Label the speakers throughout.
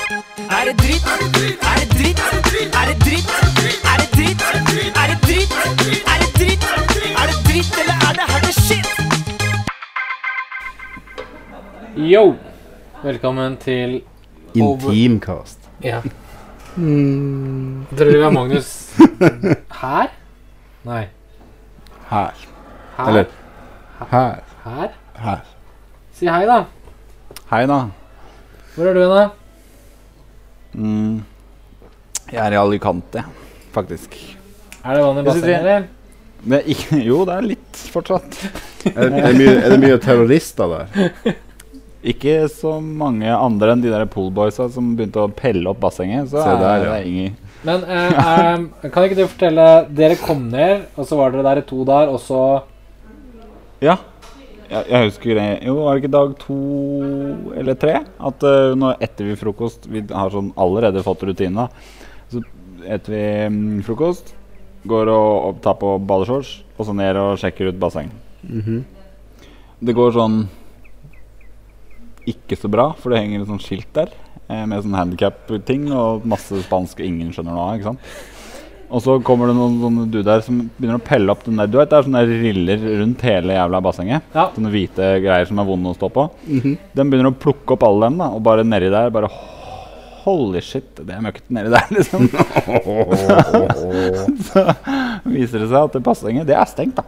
Speaker 1: Er det dritt? Er det dritt? Er det dritt? Er det dritt? Er det dritt? Er det dritt? Er det dritt, eller er det her det shit?
Speaker 2: Yo! Velkommen til
Speaker 3: Intimcast.
Speaker 2: Ja. Mm, Tror du det var Magnus her? Nei.
Speaker 3: Her.
Speaker 2: Her?
Speaker 3: Eller her.
Speaker 2: Her?
Speaker 3: Her.
Speaker 2: Si hei, da.
Speaker 3: Hei, da.
Speaker 2: Hvor er du hen, da?
Speaker 3: Mm. Jeg er i Alicante, faktisk.
Speaker 2: Er det vann i
Speaker 3: Jeg sitter i-
Speaker 2: bassenget, eller?
Speaker 3: Men ikke, jo, det er litt fortsatt.
Speaker 4: Er, er, mye, er det mye terrorister der?
Speaker 3: Ikke så mange andre enn de der poolboysa som begynte å pelle opp bassenget. Så
Speaker 4: Se der, ja.
Speaker 3: er det ingen
Speaker 2: Men eh, eh, kan ikke du fortelle Dere kom ned, og så var dere der i to dager, og så
Speaker 3: Ja. Jeg, jeg husker det. Jo, var det ikke dag to eller tre? At eh, når etter vi frokost Vi har sånn allerede fått rutine. da. Så etter vi mm, frokost, går og og tar på badeshorts, og så ned og sjekker ut basseng. Det går sånn ikke så bra, for det henger et sånt skilt der eh, med sånn handikap-ting og masse spansk ingen skjønner noe av. ikke sant? Og så kommer det noen sånne duder som begynner å pelle opp den der. Du vet, det er sånne der riller rundt hele jævla bassenget.
Speaker 2: Ja.
Speaker 3: Sånne hvite greier som er vonde å stå på.
Speaker 4: Mhm.
Speaker 3: Den begynner å plukke opp alle dem, da, og bare nedi der bare Holy shit, det er møkkete nedi der, liksom. så viser det seg at det bassenget, det er stengt, da.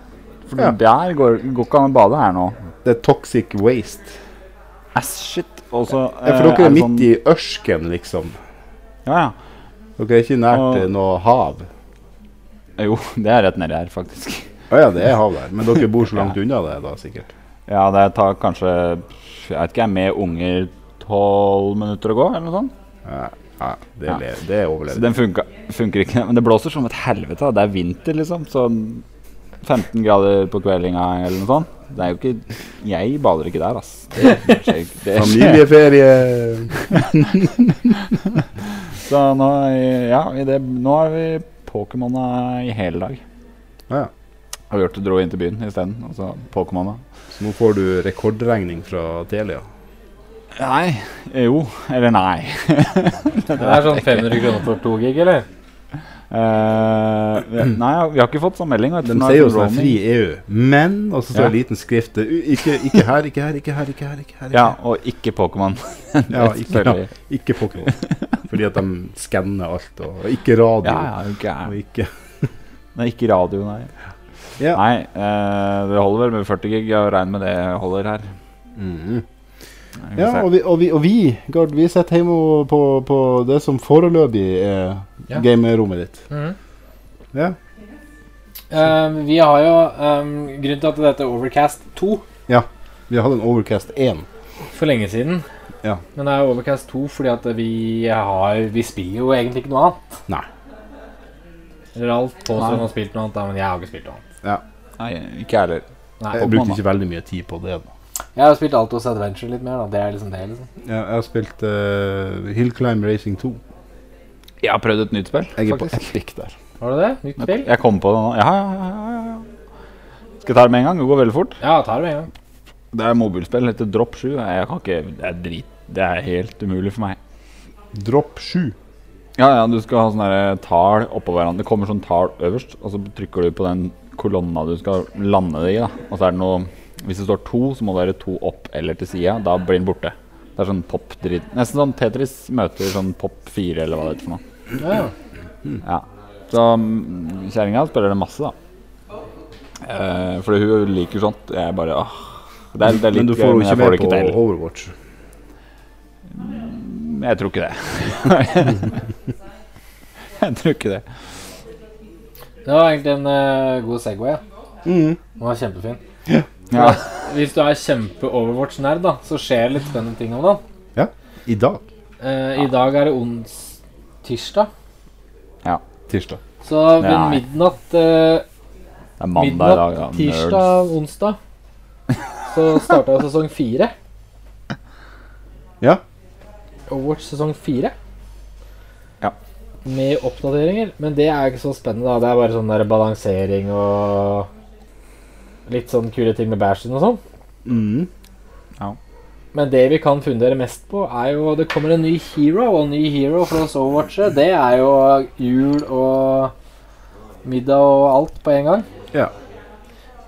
Speaker 3: For
Speaker 4: Ja.
Speaker 3: der går, går ikke an å bade her nå.
Speaker 4: Det er toxic waste.
Speaker 3: Ass shit. Og så
Speaker 4: Ja, for
Speaker 3: eh,
Speaker 4: dere er
Speaker 3: det
Speaker 4: midt i ørken, liksom.
Speaker 3: Ja, ja.
Speaker 4: Dere er ikke nært
Speaker 3: Og-
Speaker 4: eh, noe hav.
Speaker 3: Jo, det er rett nedi her, faktisk.
Speaker 4: Å ja, det er hav der. Men dere bor så langt unna det, da, sikkert.
Speaker 3: Ja, det tar kanskje Jeg vet ikke, jeg med unger tolv minutter å gå, eller noe sånt.
Speaker 4: Ja, ja, det,
Speaker 3: Ja.
Speaker 4: le- det
Speaker 3: Så
Speaker 4: overlever
Speaker 3: den funka, funker ikke. Men det blåser som et helvete. da. Det er vinter, liksom. Sånn 15 grader på kveldinga eller noe sånt. Det er jo ikke Jeg bader ikke der, ass. Det skjer ikke. Det skjer.
Speaker 4: Familieferie
Speaker 3: Så nå, ja, i det, nå er vi Pokémona i hele dag.
Speaker 4: ja.
Speaker 3: Og Hjørte dro inn til byen isteden. Altså Pokémona.
Speaker 4: Så nå får du rekordregning fra Telia.
Speaker 3: Nei. Jo. Eller nei.
Speaker 2: Det er sånn 500 kroner for to gig, eller?
Speaker 3: Eh, vi- nei, vi har ikke fått sånn melding. vet du,
Speaker 4: De
Speaker 3: for nå er
Speaker 4: sier jo
Speaker 3: det
Speaker 4: sånn
Speaker 3: roaming.
Speaker 4: fri EU, men Og så står det
Speaker 3: Ja.
Speaker 4: en liten skrift det, u- ikke, ikke her, ikke her, ikke her, ikke her. ikke her.
Speaker 3: Ja, og ikke Pokémon.
Speaker 4: Ja, ikke, ja,
Speaker 3: selvfølgelig.
Speaker 4: ikke Pokémon. Fordi at de skanner alt. Og og ikke radio.
Speaker 3: Ja, ja, er du
Speaker 4: Og
Speaker 3: gæren.
Speaker 4: ikke
Speaker 3: Nei, ikke radio, nei.
Speaker 4: Ja.
Speaker 3: Nei, eh, det holder vel med 40 gig. Jeg regner med det holder her.
Speaker 4: Mm-hmm.
Speaker 3: Vi får se.
Speaker 4: Ja, og vi, og vi, og vi Gard, vi sitter hjemme og på, på det som foreløpig er
Speaker 2: Ja.
Speaker 4: gamerommet ditt.
Speaker 2: Mhm.
Speaker 4: Ja.
Speaker 2: Ehm, vi har jo ehm, Grunnen til at det heter Overcast 2
Speaker 4: Vi hadde en Overcast 1.
Speaker 2: for lenge siden.
Speaker 4: Ja.
Speaker 2: Men det er jo Overcast 2 fordi at vi har Vi spiller jo egentlig ikke noe annet.
Speaker 4: Nei.
Speaker 2: Ralf påstår
Speaker 3: Nei.
Speaker 2: han har spilt noe annet, da, men jeg har ikke spilt noe annet.
Speaker 3: Nei, ikke jeg heller.
Speaker 2: Nei.
Speaker 4: Jeg
Speaker 3: Pokémon,
Speaker 4: brukte
Speaker 3: da.
Speaker 4: ikke veldig mye tid på det. da
Speaker 2: Jeg har spilt Altos Adventure litt mer, da. Det er liksom det, liksom.
Speaker 4: Jeg, jeg har spilt eh, Hill Climb Racing 2.
Speaker 3: Jeg har prøvd et nytt spill.
Speaker 4: Jeg er på
Speaker 3: faktisk.
Speaker 4: epic der.
Speaker 2: Var det det? Nytt spill?
Speaker 3: Jeg kom på det nå. Ja, ja, ja, ja, ja. Skal jeg ta det med en gang? Det går veldig fort.
Speaker 2: Ja, jeg tar det med en gang.
Speaker 3: Det er mobilspill. Det heter Drop 7. Jeg kan ikke Det er drit. Det er helt umulig for meg.
Speaker 4: Drop 7.
Speaker 3: Ja, ja, du skal ha sånne der tall oppå hverandre. Det kommer sånn tall øverst, og så trykker du på den kolonna du skal lande det i. da. Og så er det noe Hvis det står to, så må det være to opp eller til sida. Da blir den borte. Det er sånn pop-dritt Nesten sånn Tetris møter sånn pop 4, eller hva det heter for noe.
Speaker 2: Ja.
Speaker 3: Ja. Så mm, kjerringa spiller det masse, da. Eh, fordi hun liker sånt. Jeg bare åh. Det er, det er litt
Speaker 4: Men du
Speaker 3: gøy,
Speaker 4: får jo ikke
Speaker 3: jeg
Speaker 4: med
Speaker 3: det
Speaker 4: på
Speaker 3: til.
Speaker 4: Overwatch.
Speaker 3: Jeg tror ikke det. jeg tror ikke det.
Speaker 2: Det var egentlig en eh, god Segway. Ja. Den var kjempefin.
Speaker 3: Ja.
Speaker 2: Hvis du er kjempe-Overwatch-nerd, da, så skjer litt spennende ting om dagen.
Speaker 4: Ja, i dag.
Speaker 2: Eh, I dag er det ons tirsdag.
Speaker 4: Tirsdag.
Speaker 2: Så ved
Speaker 3: Nei.
Speaker 2: midnatt, eh,
Speaker 3: Det er mandag i dag,
Speaker 2: midnatt
Speaker 3: da. Nerds.
Speaker 2: tirsdag, onsdag så starta sesong fire.
Speaker 4: Ja.
Speaker 2: Overwatch sesong fire.
Speaker 3: Ja.
Speaker 2: Med oppdateringer. Men det er ikke så spennende, da. Det er bare sånn der balansering
Speaker 4: Mm-hmm.
Speaker 2: og litt sånn kule ting med bæsjen og sånn.
Speaker 4: Mhm.
Speaker 2: Men det vi kan fundere mest på, er jo Det kommer en ny hero, og en ny hero for oss overwatchere. Det er jo jul og middag og alt på en gang.
Speaker 4: Ja.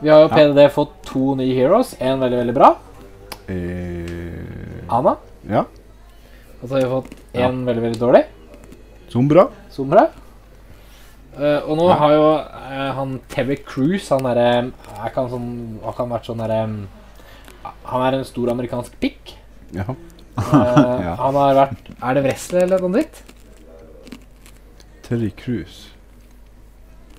Speaker 2: Vi har jo PDD fått to nye heroes. En veldig, veldig bra.
Speaker 4: Eh,
Speaker 2: Ana.
Speaker 4: ja.
Speaker 2: Og så har vi fått en veldig, veldig dårlig.
Speaker 4: Sombra.
Speaker 2: Sombra. Eh, og nå har jo eh, han Terry Cruise Han er, eh, er ikke han sånn, har ikke han vært sånn der, eh, Han er en stor amerikansk pikk.
Speaker 4: Ja.
Speaker 2: Eh, Han har vært Er det wrestler eller noe dritt?
Speaker 4: Terry Cruise.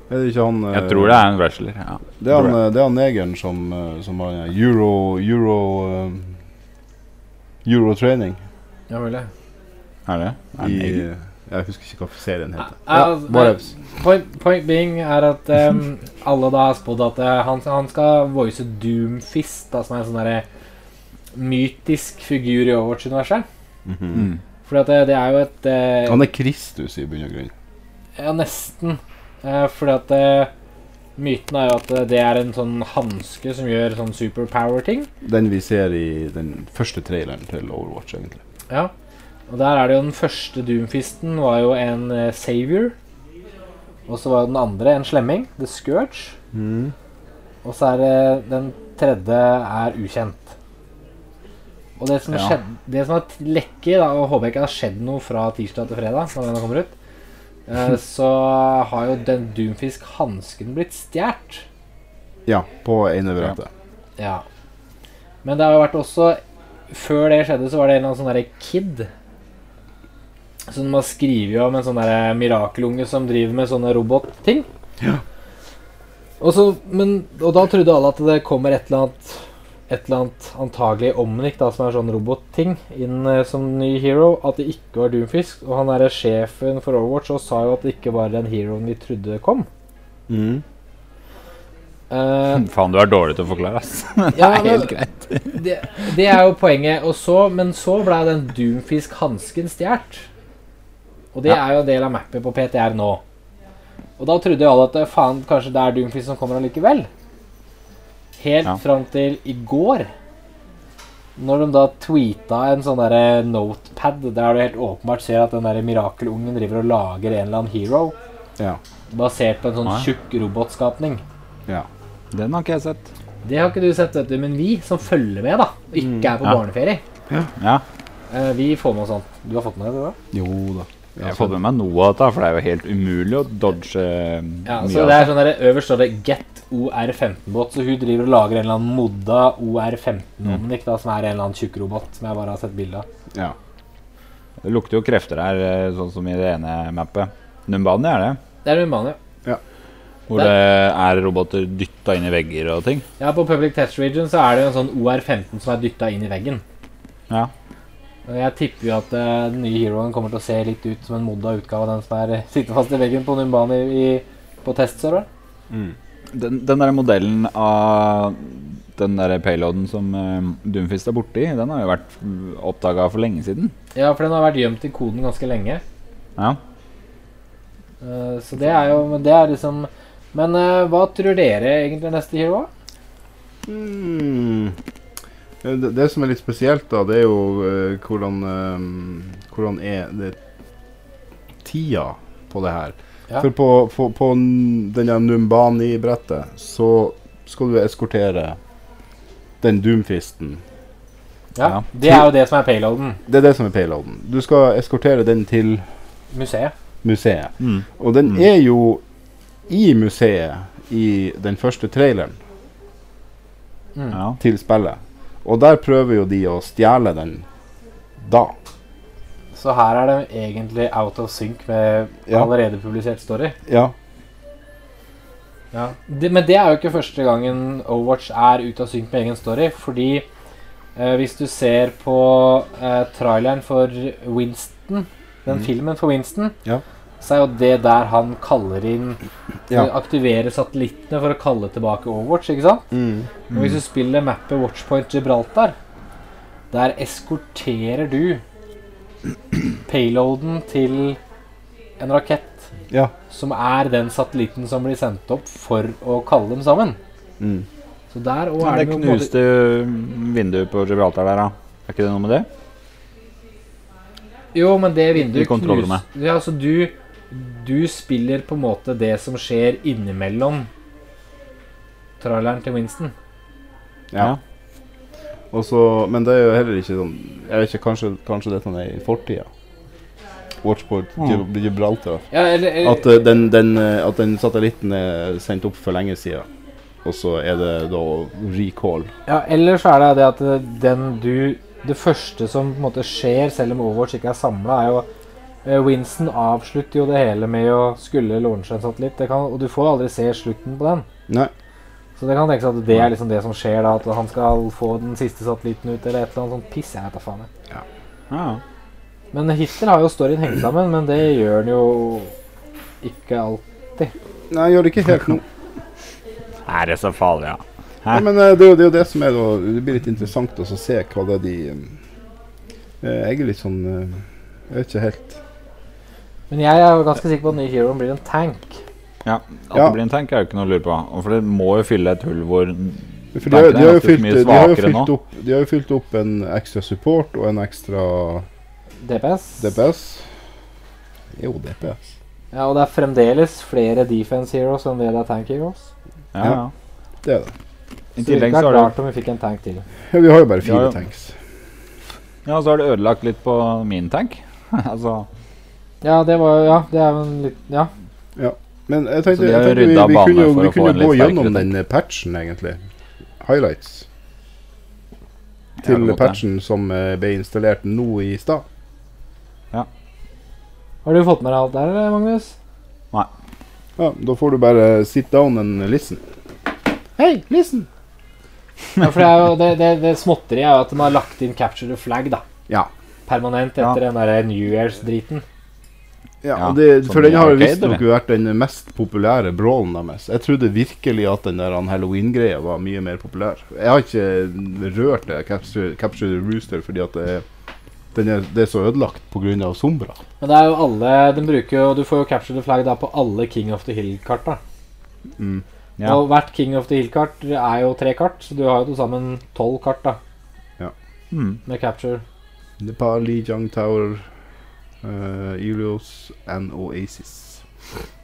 Speaker 4: Er det ikke han eh,
Speaker 3: Jeg tror det er en wrestler. Ja.
Speaker 4: Det er han,
Speaker 3: tror
Speaker 4: eh, det er han negeren som, eh, som har eh, euro... euro... eh, Eurotraining
Speaker 2: Ja, mulig.
Speaker 3: Er det? Er
Speaker 4: i
Speaker 3: det en egen?
Speaker 4: eh, Jeg husker ikke hva serien heter.
Speaker 2: Ja, altså,
Speaker 4: whatevs.
Speaker 2: Point, point being er at em, alle da har spådd at eh, han, han skal voice Doomfist, da, som er en sånn derre mytisk figur i Overwatch-universet.
Speaker 3: Mm.
Speaker 2: Fordi at det, det er jo et eh,
Speaker 4: Han er Kristus i bunn og grunn.
Speaker 2: Ja, nesten. Eh, fordi at eh, myten er jo at eh, det er en sånn hanske som gjør sånn superpower-ting.
Speaker 4: Den vi ser i den første traileren til Overwatch, egentlig.
Speaker 2: Ja. Og der er det jo den første Doomfisten var jo en eh, savior. Og så var jo den andre en slemming, The Scourge.
Speaker 3: Mm.
Speaker 2: Og så er det den tredje er ukjent. Og det som,
Speaker 3: Ja.
Speaker 2: skjedde, det som er lekker, da, og håper jeg ikke har skjedd noe fra tirsdag til fredag, når denne kommer ut, eh, så har jo den Doomfisk-hansken blitt stjålet.
Speaker 4: Ja, på enebrettet.
Speaker 2: Ja. Men det har jo vært også Før det skjedde, så var det en eller annen sånn derre kid. Som man skriver om en sånn derre mirakelunge som driver med sånne robotting.
Speaker 4: Ja.
Speaker 2: Og, så, men, og da trodde alle at det kommer et eller annet et eller annet antagelig Omnik, da, som er sånn robotting, inn eh, som ny hero. At det ikke var Doomfisk. Og han derre sjefen for Overwatch og sa jo at det ikke var den heroen vi trodde kom.
Speaker 3: Mm.
Speaker 2: Eh,
Speaker 3: Faen, du er dårlig til å forklare, ass.
Speaker 2: ja,
Speaker 3: Det er
Speaker 2: men-
Speaker 3: helt greit.
Speaker 2: det, det er jo poenget. Og så, men så ble den Doomfisk-hansken stjålet. Og det er jo en del av mappet på PTR nå. Og da trodde jo alle at eh, faen, kanskje det er Doomfisk som kommer allikevel. Helt
Speaker 3: Ja.
Speaker 2: fram til i går. Når de da tweeta en sånn derre notepad der du helt åpenbart ser at den derre mirakelungen driver og lager en eller annen hero
Speaker 4: Ja.
Speaker 2: basert på en sånn
Speaker 3: Ah, ja.
Speaker 2: tjukk robotskapning.
Speaker 4: ja.
Speaker 3: Den har ikke jeg sett.
Speaker 2: Det har ikke du sett, vet du, men vi som følger med, da, og ikke er
Speaker 3: Mm,
Speaker 2: på
Speaker 3: Ja.
Speaker 2: barneferie,
Speaker 3: Ja,
Speaker 2: Eh, vi får med oss sånt. Du har fått med deg det? da?
Speaker 4: Jo da.
Speaker 3: Jeg har fått med meg noe av dette, for det er jo helt umulig å dodge eh,
Speaker 2: Ja,
Speaker 3: mye
Speaker 2: så
Speaker 3: av
Speaker 2: det
Speaker 3: det.
Speaker 2: er sånn der, Øverst står det 'Get OR15-båt'. Så hun driver og lager en eller annen modda OR15-omnik, da, som er en eller annen tjukk robot. Som jeg bare har sett bilde av.
Speaker 4: Ja.
Speaker 3: Det lukter jo krefter her, eh, sånn som i det ene mappet. Numbani er det,
Speaker 2: Det er Rumania.
Speaker 3: hvor
Speaker 2: Der.
Speaker 3: det er roboter dytta inn i vegger og ting.
Speaker 2: Ja, på Public Test Region så er det jo en sånn OR15 som er dytta inn i veggen.
Speaker 3: Ja.
Speaker 2: Og Jeg tipper jo at eh, den nye heroen kommer til å se litt ut som en modda utgave av den som er eh, sitter fast i veggen på Numbani i, på testserveren.
Speaker 4: Mm.
Speaker 3: Den, den der modellen av den der payloaden som eh, Doomfist er borti, den har jo vært oppdaga for lenge siden.
Speaker 2: Ja, for den har vært gjemt i koden ganske lenge.
Speaker 3: Ja.
Speaker 2: Eh, så det er jo men Det er liksom Men eh, hva tror dere egentlig er neste hero? da?
Speaker 4: Mm. Det, det som er litt spesielt, da, det er jo eh, hvordan eh, Hvordan er det tida på det her?
Speaker 2: Ja.
Speaker 4: For på, på, på n- den der Numbani-brettet så skal du eskortere den Doomfisten.
Speaker 2: Ja,
Speaker 3: Ja.
Speaker 2: Det er jo det som er payloaden.
Speaker 4: Det er det som er payloaden. Du skal eskortere den til
Speaker 2: Museet.
Speaker 4: museet.
Speaker 3: Mm.
Speaker 4: Og den
Speaker 3: Mm.
Speaker 4: er jo i museet i den første traileren
Speaker 2: Mm.
Speaker 3: ja.
Speaker 4: til spillet. Og der prøver jo de å stjele den da.
Speaker 2: Så her er de egentlig out of sync med
Speaker 4: Ja.
Speaker 2: allerede publisert story.
Speaker 4: Ja.
Speaker 2: Det, men det er jo ikke første gangen Overwatch er ut av synk med egen story. Fordi eh, hvis du ser på eh, traileren for Winston, den
Speaker 4: Mm.
Speaker 2: filmen for Winston,
Speaker 4: Ja.
Speaker 2: så er jo det der han kaller inn
Speaker 4: Ja.
Speaker 2: eh, Aktiverer satellittene for å kalle tilbake Overwatch, ikke sant?
Speaker 4: Mm.
Speaker 2: Men hvis du spiller mappet Watchpoint Gibraltar, der eskorterer du payloaden til en rakett
Speaker 4: Ja.
Speaker 2: som er den satellitten som blir sendt opp for å kalle dem sammen.
Speaker 4: Mm.
Speaker 2: Så der òg
Speaker 3: Men
Speaker 2: er
Speaker 3: det
Speaker 2: det jo på en måte-
Speaker 3: knuste vinduet på Gibraltar der, da. Er ikke det noe med det?
Speaker 2: Jo, men det vinduet
Speaker 3: I kontrollrommet.
Speaker 2: knus- Ja, altså du Du spiller på en måte det som skjer innimellom traileren til Winston.
Speaker 4: Ja. Og så- men det er jo heller ikke sånn Jeg vet ikke, kanskje, kanskje dette er i fortida? Watchport
Speaker 3: Mm.
Speaker 4: Gibraltar.
Speaker 2: Ja, eller, eller
Speaker 4: At, eh, den, den, eh, at den satellitten er sendt opp for lenge siden. Og så er det da recall.
Speaker 2: Ja, ellers er det det at eh, den du Det første som på en måte skjer, selv om Overwatch ikke er samla, er jo eh, Winston avslutter jo det hele med å skulle launche en satellitt, det kan, og du får aldri se slutten på den.
Speaker 4: Nei.
Speaker 2: Så det kan tenkes at det er liksom det som skjer, da, at han skal få den siste satellitten ut, eller et eller annet sånt piss. Jeg vet da faen. jeg.
Speaker 3: Ja.
Speaker 2: Men Hitler har jo storyen hengt sammen, men det gjør han jo ikke alt.
Speaker 4: Nei, jeg gjør det ikke helt nå.
Speaker 3: Er det så farlig, ja?
Speaker 4: Nei, men eh, det er jo det, er jo det som er da, Det blir litt interessant også å se hva det er de eh, Jeg er litt sånn eh, Jeg vet ikke helt.
Speaker 2: Men jeg er jo ganske sikker på at den nye heroen blir en tank.
Speaker 3: At
Speaker 4: Ja.
Speaker 3: det blir en tank, er jo ikke noe å lure på. Og For det må jo fylle et hull hvor Ja,
Speaker 4: For de, har- de, har
Speaker 3: Tanken
Speaker 4: jo
Speaker 3: er ganske
Speaker 4: fylt,
Speaker 3: mye
Speaker 4: de, har jo
Speaker 3: svakere nå.
Speaker 4: fylt opp, de har jo fylt opp en ekstra support og en ekstra
Speaker 2: DPS.
Speaker 4: DPS. Jo, DPS.
Speaker 2: Ja, Og det er fremdeles flere defense heroes enn det det er tank heroes.
Speaker 4: Ja.
Speaker 3: ja.
Speaker 4: Det er det.
Speaker 3: I
Speaker 2: Så det
Speaker 3: tillegg så
Speaker 2: ikke er
Speaker 3: har det
Speaker 2: klart om vi fikk en tank til.
Speaker 4: Ja, vi har jo bare fire
Speaker 3: Ja, ja.
Speaker 4: tanks.
Speaker 3: Ja, så har det ødelagt litt på min tank. altså,
Speaker 2: Ja, det var jo Ja, det er jo en litt Ja.
Speaker 4: Men jeg tenkte,
Speaker 3: Så de har
Speaker 4: jeg tenkte vi,
Speaker 3: rydda
Speaker 4: vi
Speaker 3: bane
Speaker 4: kunne jo
Speaker 3: for
Speaker 4: vi
Speaker 3: å få
Speaker 4: kunne
Speaker 3: en
Speaker 4: gå
Speaker 3: litt
Speaker 4: gjennom
Speaker 3: sterkere
Speaker 4: den eh, patchen, egentlig. Highlights
Speaker 3: Ja,
Speaker 4: til
Speaker 3: det måtte jeg.
Speaker 4: patchen som eh, ble installert nå i stad.
Speaker 2: Har du fått med deg alt der, eller, Magnus?
Speaker 4: Ja, da får du bare sit down and listen. Hei, listen!
Speaker 2: Ja, for det er jo Det, det, det småtteriet er jo at de har lagt inn capture the flag, da.
Speaker 4: Ja.
Speaker 2: Permanent
Speaker 3: Ja.
Speaker 2: etter den der New Years-driten.
Speaker 4: Ja,
Speaker 3: Ja,
Speaker 4: og det,
Speaker 3: som
Speaker 4: For
Speaker 3: i
Speaker 4: den har
Speaker 3: arcade,
Speaker 4: visstnok vært den mest populære brawlen deres. Jeg trodde virkelig at den der han halloween-greia var mye mer populær. Jeg har ikke rørt det, Capture, Capture the Rooster, fordi at det, den er, det er så ødelagt pga. sombra.
Speaker 2: Men det er jo alle De bruker jo Du får jo capture the flag da på alle King of the Hill-kart, da.
Speaker 4: Mm.
Speaker 3: Ja.
Speaker 2: Og hvert King of the Hill-kart er jo tre kart, så du har jo til sammen tolv kart da
Speaker 3: mm.
Speaker 2: med capture.
Speaker 4: Nepal, Lijiang Tower, uh, Ilios and Oasis.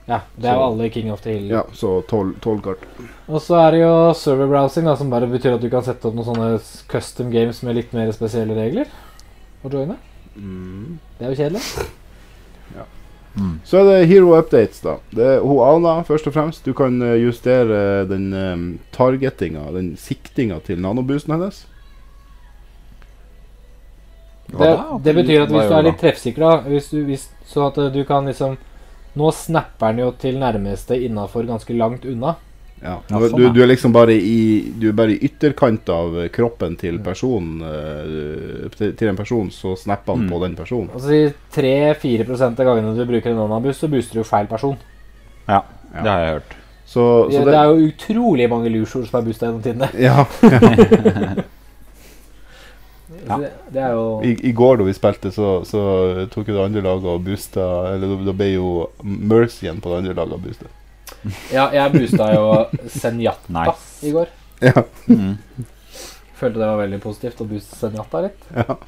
Speaker 2: Ja, det er jo
Speaker 4: Så-
Speaker 2: alle King of the Hill.
Speaker 4: Ja, så tolv tolv kart.
Speaker 2: Og så er det jo server browsing, da, som bare betyr at du kan sette opp noen sånne s- custom games med litt mer spesielle regler. Og joine.
Speaker 3: Mm.
Speaker 2: Det er jo kjedelig.
Speaker 4: Så er det Hero Updates, da. Det er hun Ana, først og fremst. Du kan eh, justere eh, den um, targetinga, den siktinga til nanoboosten hennes.
Speaker 3: Hva
Speaker 2: Det,
Speaker 3: da?
Speaker 2: det betyr at
Speaker 3: Hva
Speaker 2: hvis du
Speaker 3: gjør
Speaker 2: er litt treffsikker, da hvis du, hvis, Sånn at eh, du kan liksom Nå snapper den jo til nærmeste innafor ganske langt unna.
Speaker 4: Ja.
Speaker 3: Ja,
Speaker 4: Du,
Speaker 3: sånn,
Speaker 4: du,
Speaker 3: ja.
Speaker 4: du er liksom bare i Du er bare i ytterkant av eh, kroppen
Speaker 3: Mm.
Speaker 4: til personen eh, til, til en person, så snapper han
Speaker 3: Mm.
Speaker 4: på den personen.
Speaker 2: Altså i 3-4 prosent av gangene du bruker en nanabus, så booster du feil person.
Speaker 3: Det har jeg hørt.
Speaker 4: Så, så
Speaker 2: Ja, det er jo utrolig mange lusjord som er boosta gjennom tidene.
Speaker 4: Ja.
Speaker 3: Ja.
Speaker 2: Så Det, det er jo
Speaker 4: I, I går da vi spilte, så, så tok jo det andre laget og boosta Eller da, da ble jo Mercyen på det andre laget og boosta.
Speaker 2: Ja, jeg boosta jo Senjata
Speaker 3: Nice.
Speaker 2: i går.
Speaker 4: Ja.
Speaker 3: Mm.
Speaker 2: Følte det var veldig positivt å booste Senjata litt.
Speaker 4: Ja.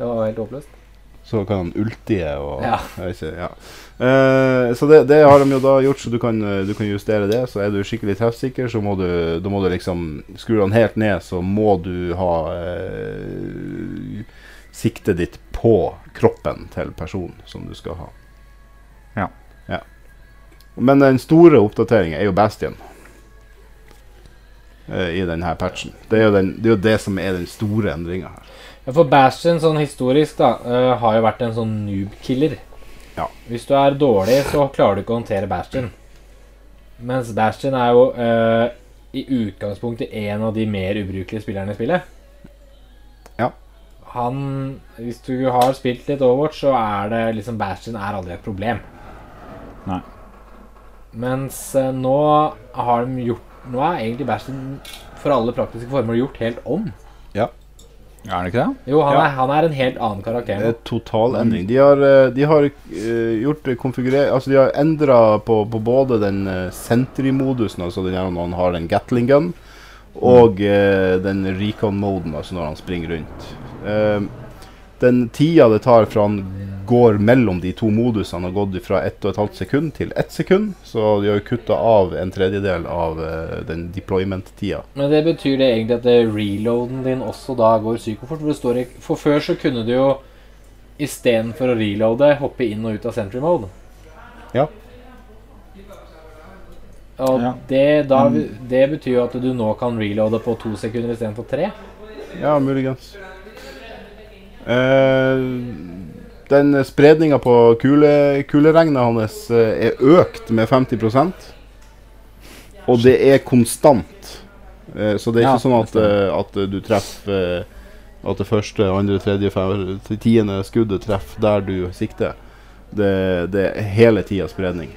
Speaker 2: Det var helt håpløst.
Speaker 4: Så kan han ultie og
Speaker 2: Ja.
Speaker 4: Jeg vet ikke, ja. Eh, så det, det har de jo da gjort, så du kan, eh, du kan justere det. Så er du skikkelig treffsikker, så må du, da må du liksom Skrur han helt ned, så må du ha eh, siktet ditt på kroppen til personen som du skal ha.
Speaker 3: Ja.
Speaker 4: ja. Men den store oppdateringen er jo Bastion. eh, I denne patchen. Det er, jo den, det er jo det som er den store endringa her.
Speaker 2: Ja, For Bastion, sånn historisk, da, eh, har jo vært en sånn noob-killer.
Speaker 4: Ja.
Speaker 2: Hvis du er dårlig, så klarer du ikke å håndtere Bastion. Mens Bastion er jo eh, i utgangspunktet en av de mer ubrukelige spillerne i spillet.
Speaker 4: Ja.
Speaker 2: Han Hvis du har spilt litt Overwatch, så er det liksom Bastion er aldri et problem.
Speaker 3: Nei.
Speaker 2: Mens eh, nå har de gjort Nå er egentlig Bastion for alle praktiske formål gjort helt om.
Speaker 3: Er det ikke det?
Speaker 2: Jo, han,
Speaker 4: Ja.
Speaker 2: er, han er en helt annen karakter
Speaker 4: Det
Speaker 2: nå.
Speaker 4: er Eh, total endring. De har, eh, de har eh, gjort det konfigurer... Altså, de har endra på, på både den eh, sentry-modusen, altså den her når han har en Gatling gun, Og eh, den recon-moden, altså når han springer rundt. Eh, den tida det tar fra han går mellom de to modusene, har gått fra 1,5 sekund til 1 sekund. Så de har jo kutta av en tredjedel av eh, den deployment-tida.
Speaker 2: Men det betyr det egentlig at det reloaden din også da går psykofort? For, det står ikke- for før så kunne du jo istedenfor å reloade hoppe inn og ut av sentry mode.
Speaker 4: Ja.
Speaker 2: Og
Speaker 3: Ja.
Speaker 2: Det, da, det betyr jo at du nå kan reloade på to sekunder istedenfor tre.
Speaker 4: Ja, muligens. Eh, den spredninga på kule, kuleregnet hans eh, er økt med 50 Og det er konstant. Eh, så det er
Speaker 3: Ja,
Speaker 4: ikke sånn at,
Speaker 3: det
Speaker 4: eh, at du treffer eh, At det første, andre, tredje, fjerde, tiende skuddet treffer der du sikter. Det, det er hele tida spredning.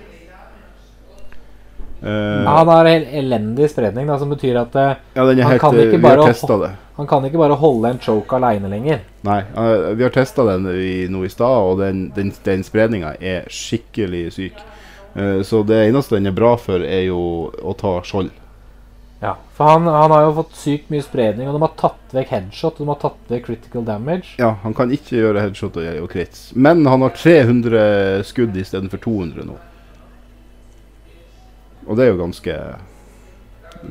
Speaker 4: Eh,
Speaker 2: Ja, han har en elendig spredning, da, som betyr at eh,
Speaker 4: ja, den er
Speaker 2: han
Speaker 4: helt,
Speaker 2: kan
Speaker 4: eh,
Speaker 2: ikke
Speaker 4: Vi har
Speaker 2: bare
Speaker 4: testa det.
Speaker 2: han kan ikke bare holde en choke aleine lenger.
Speaker 4: Nei, eh, vi har testa den i, nå i stad, og den, den, den spredninga er skikkelig syk. Eh, Så det eneste den er bra for, er jo å ta skjold.
Speaker 2: Ja, For han, han har jo fått sykt mye spredning, og de har tatt vekk headshot og de har tatt vekk critical damage.
Speaker 4: Ja, han kan ikke gjøre headshot og, og crits, men han har 300 skudd istedenfor 200 nå. Og det er jo ganske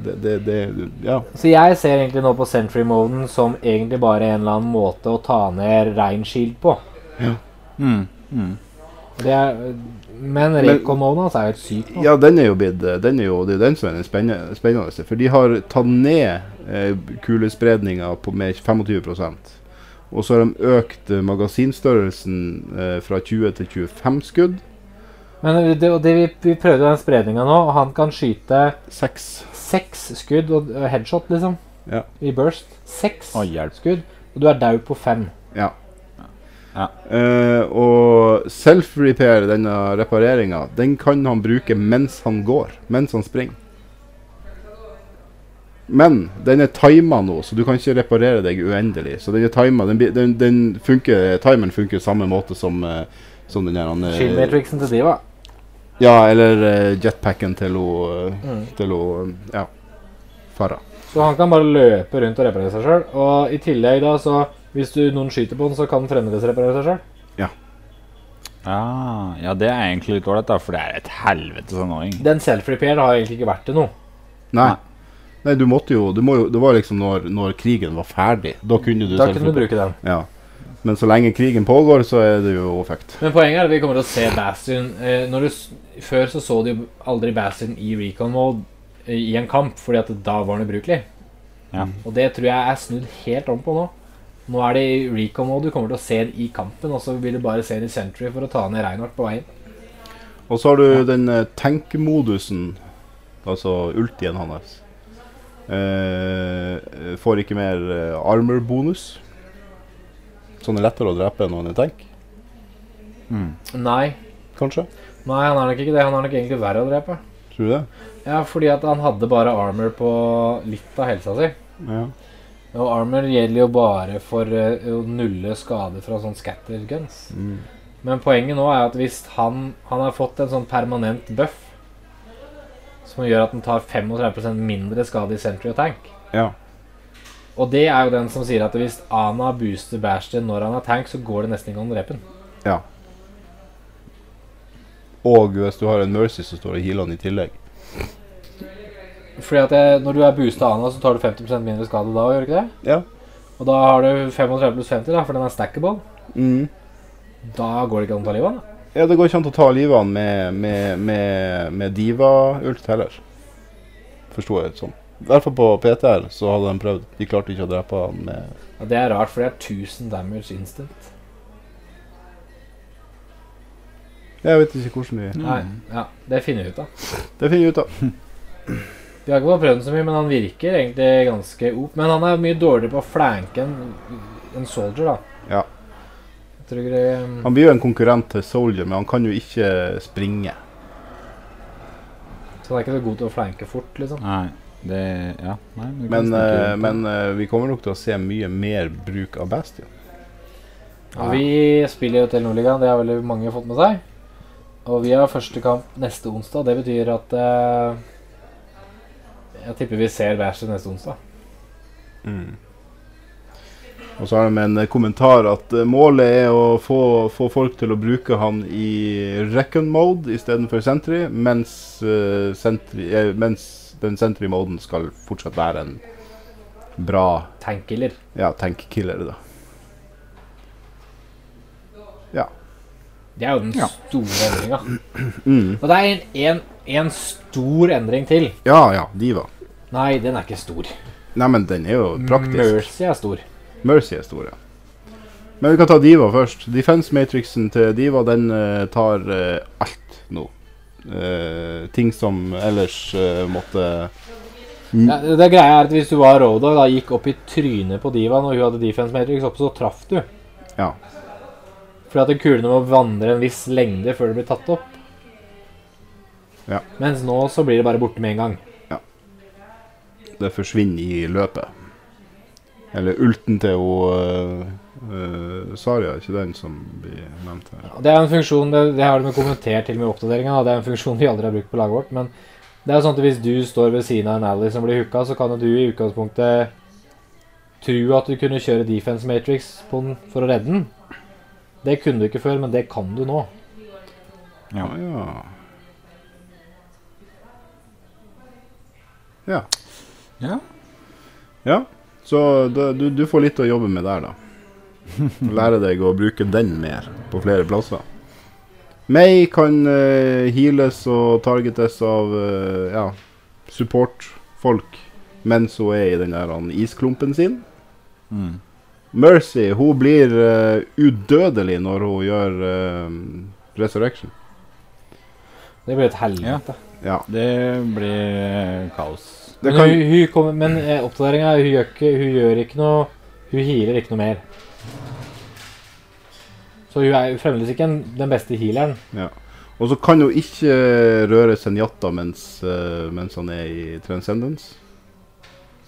Speaker 4: Det, det, det Ja.
Speaker 2: Så jeg ser egentlig nå på Sentry-moden som egentlig bare en eller annen måte å ta ned rein shield på.
Speaker 3: Mm. Mm.
Speaker 2: Det er, men Recon-moden hans er jo helt syk nå.
Speaker 4: Ja, den er jo blitt eh, den er jo, Det er jo den som er den spennende, spennende for de har tatt ned eh, kulespredninga på- med 25 Og så har de økt eh, magasinstørrelsen eh, fra 20 til 25 skudd.
Speaker 2: Men det, og det, vi, vi prøvde den spredninga nå, og han kan skyte
Speaker 4: 6.
Speaker 2: seks skudd og og headshot, liksom.
Speaker 4: Ja.
Speaker 2: I burst. Seks
Speaker 3: Å, hjelp.
Speaker 2: skudd, og du er daud på fem.
Speaker 4: Ja.
Speaker 3: Ja.
Speaker 4: Eh, og self-repair, denne repareringa, den kan han bruke mens han går. Mens han springer. Men den er tima nå, så du kan ikke reparere deg uendelig. Så den er timet, Den, blir- den, den funker, timeren funker samme måte som, eh, som den der han, eh,
Speaker 2: Shield matrixen til Diva.
Speaker 4: Ja, eller eh, jetpacken til hun eh,
Speaker 2: Mm.
Speaker 4: Til hun eh, Ja. Farah.
Speaker 2: Så han kan bare løpe rundt og reparere seg sjøl. Og i tillegg, da, så hvis du, noen skyter på den, så kan den fremdeles reparere seg sjøl.
Speaker 3: Ah, ja, det er egentlig litt ålreit, da, for det er et sånn helvetes annoying.
Speaker 2: Den self-repair har egentlig ikke vært til noe.
Speaker 4: Nei. Nei, du måtte jo, du må jo Det var liksom når, når krigen var ferdig. Da kunne du
Speaker 2: Da
Speaker 4: self-repair.
Speaker 2: kunne du bruke den.
Speaker 4: Ja. Men så lenge krigen pågår, så er det jo fucked.
Speaker 2: Men poenget er at vi kommer til å se Bastion eh, når du, s- Før så så du jo aldri Bastion i recon mode eh, i en kamp, fordi at da var den ubrukelig.
Speaker 3: Ja.
Speaker 2: Og det tror jeg er snudd helt om på nå. Nå er det i recon mode du kommer til å se den i kampen, og så vil du bare se den i Sentry for å ta ned Reinhardt på veien.
Speaker 4: Og så har du den eh, tenkmodusen, altså ultien hans. Eh, får ikke mer eh, armor bonus. Så han Sånn er lettere å drepe enn han er tank,
Speaker 2: Nei,
Speaker 4: kanskje?
Speaker 2: nei, han er nok ikke det. Han er nok egentlig verre å drepe.
Speaker 4: Tror du det?
Speaker 2: Ja, fordi at han hadde bare armor på litt av helsa si.
Speaker 4: Ja.
Speaker 2: Og armor gjelder jo bare for eh, å nulle skade fra sånn scatter guns.
Speaker 4: Mm.
Speaker 2: Men poenget nå er at hvis han, han har fått en sånn permanent buff som gjør at den tar 35 mindre skade i Sentry og Tank
Speaker 4: ja.
Speaker 2: Og det er jo den som sier at hvis Ana booster Bastion når han er tank, så går det nesten ikke an å drepe den.
Speaker 4: Og hvis du har en Mercy, så står det healene i tillegg.
Speaker 2: Fordi at eh, når du er boosta Ana, så tar du 50 mindre skade da, gjør du ikke det?
Speaker 4: Ja.
Speaker 2: Og da har du 35 pluss 50, da, for den er stackable.
Speaker 4: Mm.
Speaker 2: Da går det ikke an å ta livet av den.
Speaker 4: Ja, det går ikke an å ta livet av han med, med, med, med diva-ult heller. Forsto jeg det sånn. I hvert fall på PTR så hadde de prøvd. De klarte ikke å drepe han med
Speaker 2: Ja, det er rart, for det er 1000 damage instant.
Speaker 4: Jeg vet ikke hvordan vi
Speaker 2: Nei, ja, Det finner vi ut av.
Speaker 4: Det finner vi ut av.
Speaker 2: Vi har ikke fått prøvd den så mye, men han virker egentlig ganske op. Men han er mye dårligere på å flanke enn enn Soldier, da.
Speaker 4: Ja.
Speaker 2: Jeg tror ikke det um,
Speaker 4: Han blir jo en konkurrent til Soldier, men han kan jo ikke springe.
Speaker 2: Så han er ikke så god til å flanke fort, liksom.
Speaker 3: Nei, det Ja, nei, men, du kan
Speaker 4: Men,
Speaker 3: snakke
Speaker 4: eh,
Speaker 3: rundt det.
Speaker 4: men eh, vi kommer nok til å se mye mer bruk av Bastion.
Speaker 2: Og vi spiller jo til Nordligaen, det har veldig mange fått med seg. Og vi har første kamp neste onsdag. Det betyr at eh, Jeg tipper vi ser hver sin neste onsdag.
Speaker 4: Og så har de en eh, kommentar at eh, målet er å få, få folk til å bruke han i reckon mode istedenfor sentry, mens, eh, sentry eh, mens den sentry-moden skal fortsatt være en bra
Speaker 2: Tankiller.
Speaker 4: ja, tank-killer, da.
Speaker 2: Det er jo den
Speaker 3: Ja.
Speaker 2: store endringa.
Speaker 4: Mm.
Speaker 2: Og det er en, en, en stor endring til.
Speaker 4: Ja ja, diva.
Speaker 2: Nei, den er ikke stor.
Speaker 4: Neimen, den er jo praktisk.
Speaker 2: Mercy er stor.
Speaker 4: Mercy er stor, ja. Men vi kan ta Diva først. Defense-matrixen til Diva den eh, tar eh, alt nå. Eh, ting som ellers eh, måtte Mm.
Speaker 2: Ja, det greia er at Hvis du var Rodog da gikk opp i trynet på Divaen og hun hadde defense matrix oppe, så traff du.
Speaker 4: Ja.
Speaker 2: Fordi at kulene må vandre en viss lengde før de blir tatt opp.
Speaker 4: Ja.
Speaker 2: Mens nå så blir det bare borte med en gang.
Speaker 4: det forsvinner i løpet. Eller ulten til hun eh, eh, Saria, ikke den som blir nevnt her.
Speaker 2: Og Det er en funksjon, det, det har de jo kommentert til og med i oppdateringen, og det er en funksjon vi aldri har brukt på laget vårt, men det er jo sånn at hvis du står ved siden av en ally som blir hooka, så kan jo du i utgangspunktet tro at du kunne kjøre defense matrix på den for å redde den. Det kunne du ikke før, men det kan du nå.
Speaker 4: Ja. ja. Ja.
Speaker 3: Ja.
Speaker 4: Ja, Så da, du, du får litt å jobbe med der, da. Lære deg å bruke den mer på flere plasser. May kan eh, heales og targetes av eh, ja, support-folk mens hun er i den der han, isklumpen sin.
Speaker 3: Mm.
Speaker 4: Mercy hun blir eh, udødelig når hun gjør eh, resurrection.
Speaker 2: Det blir et helvete.
Speaker 4: Ja.
Speaker 3: Det blir kaos.
Speaker 4: Det
Speaker 2: Men,
Speaker 4: kan,
Speaker 2: hun, hun kommer, men eh, oppdateringen, hun gjør ikke, hun gjør ikke noe, hun healer ikke noe mer. Så hun er jo fremdeles ikke en, den beste healeren.
Speaker 4: og så kan hun ikke røre Senjata mens, eh, mens han er i transcendence.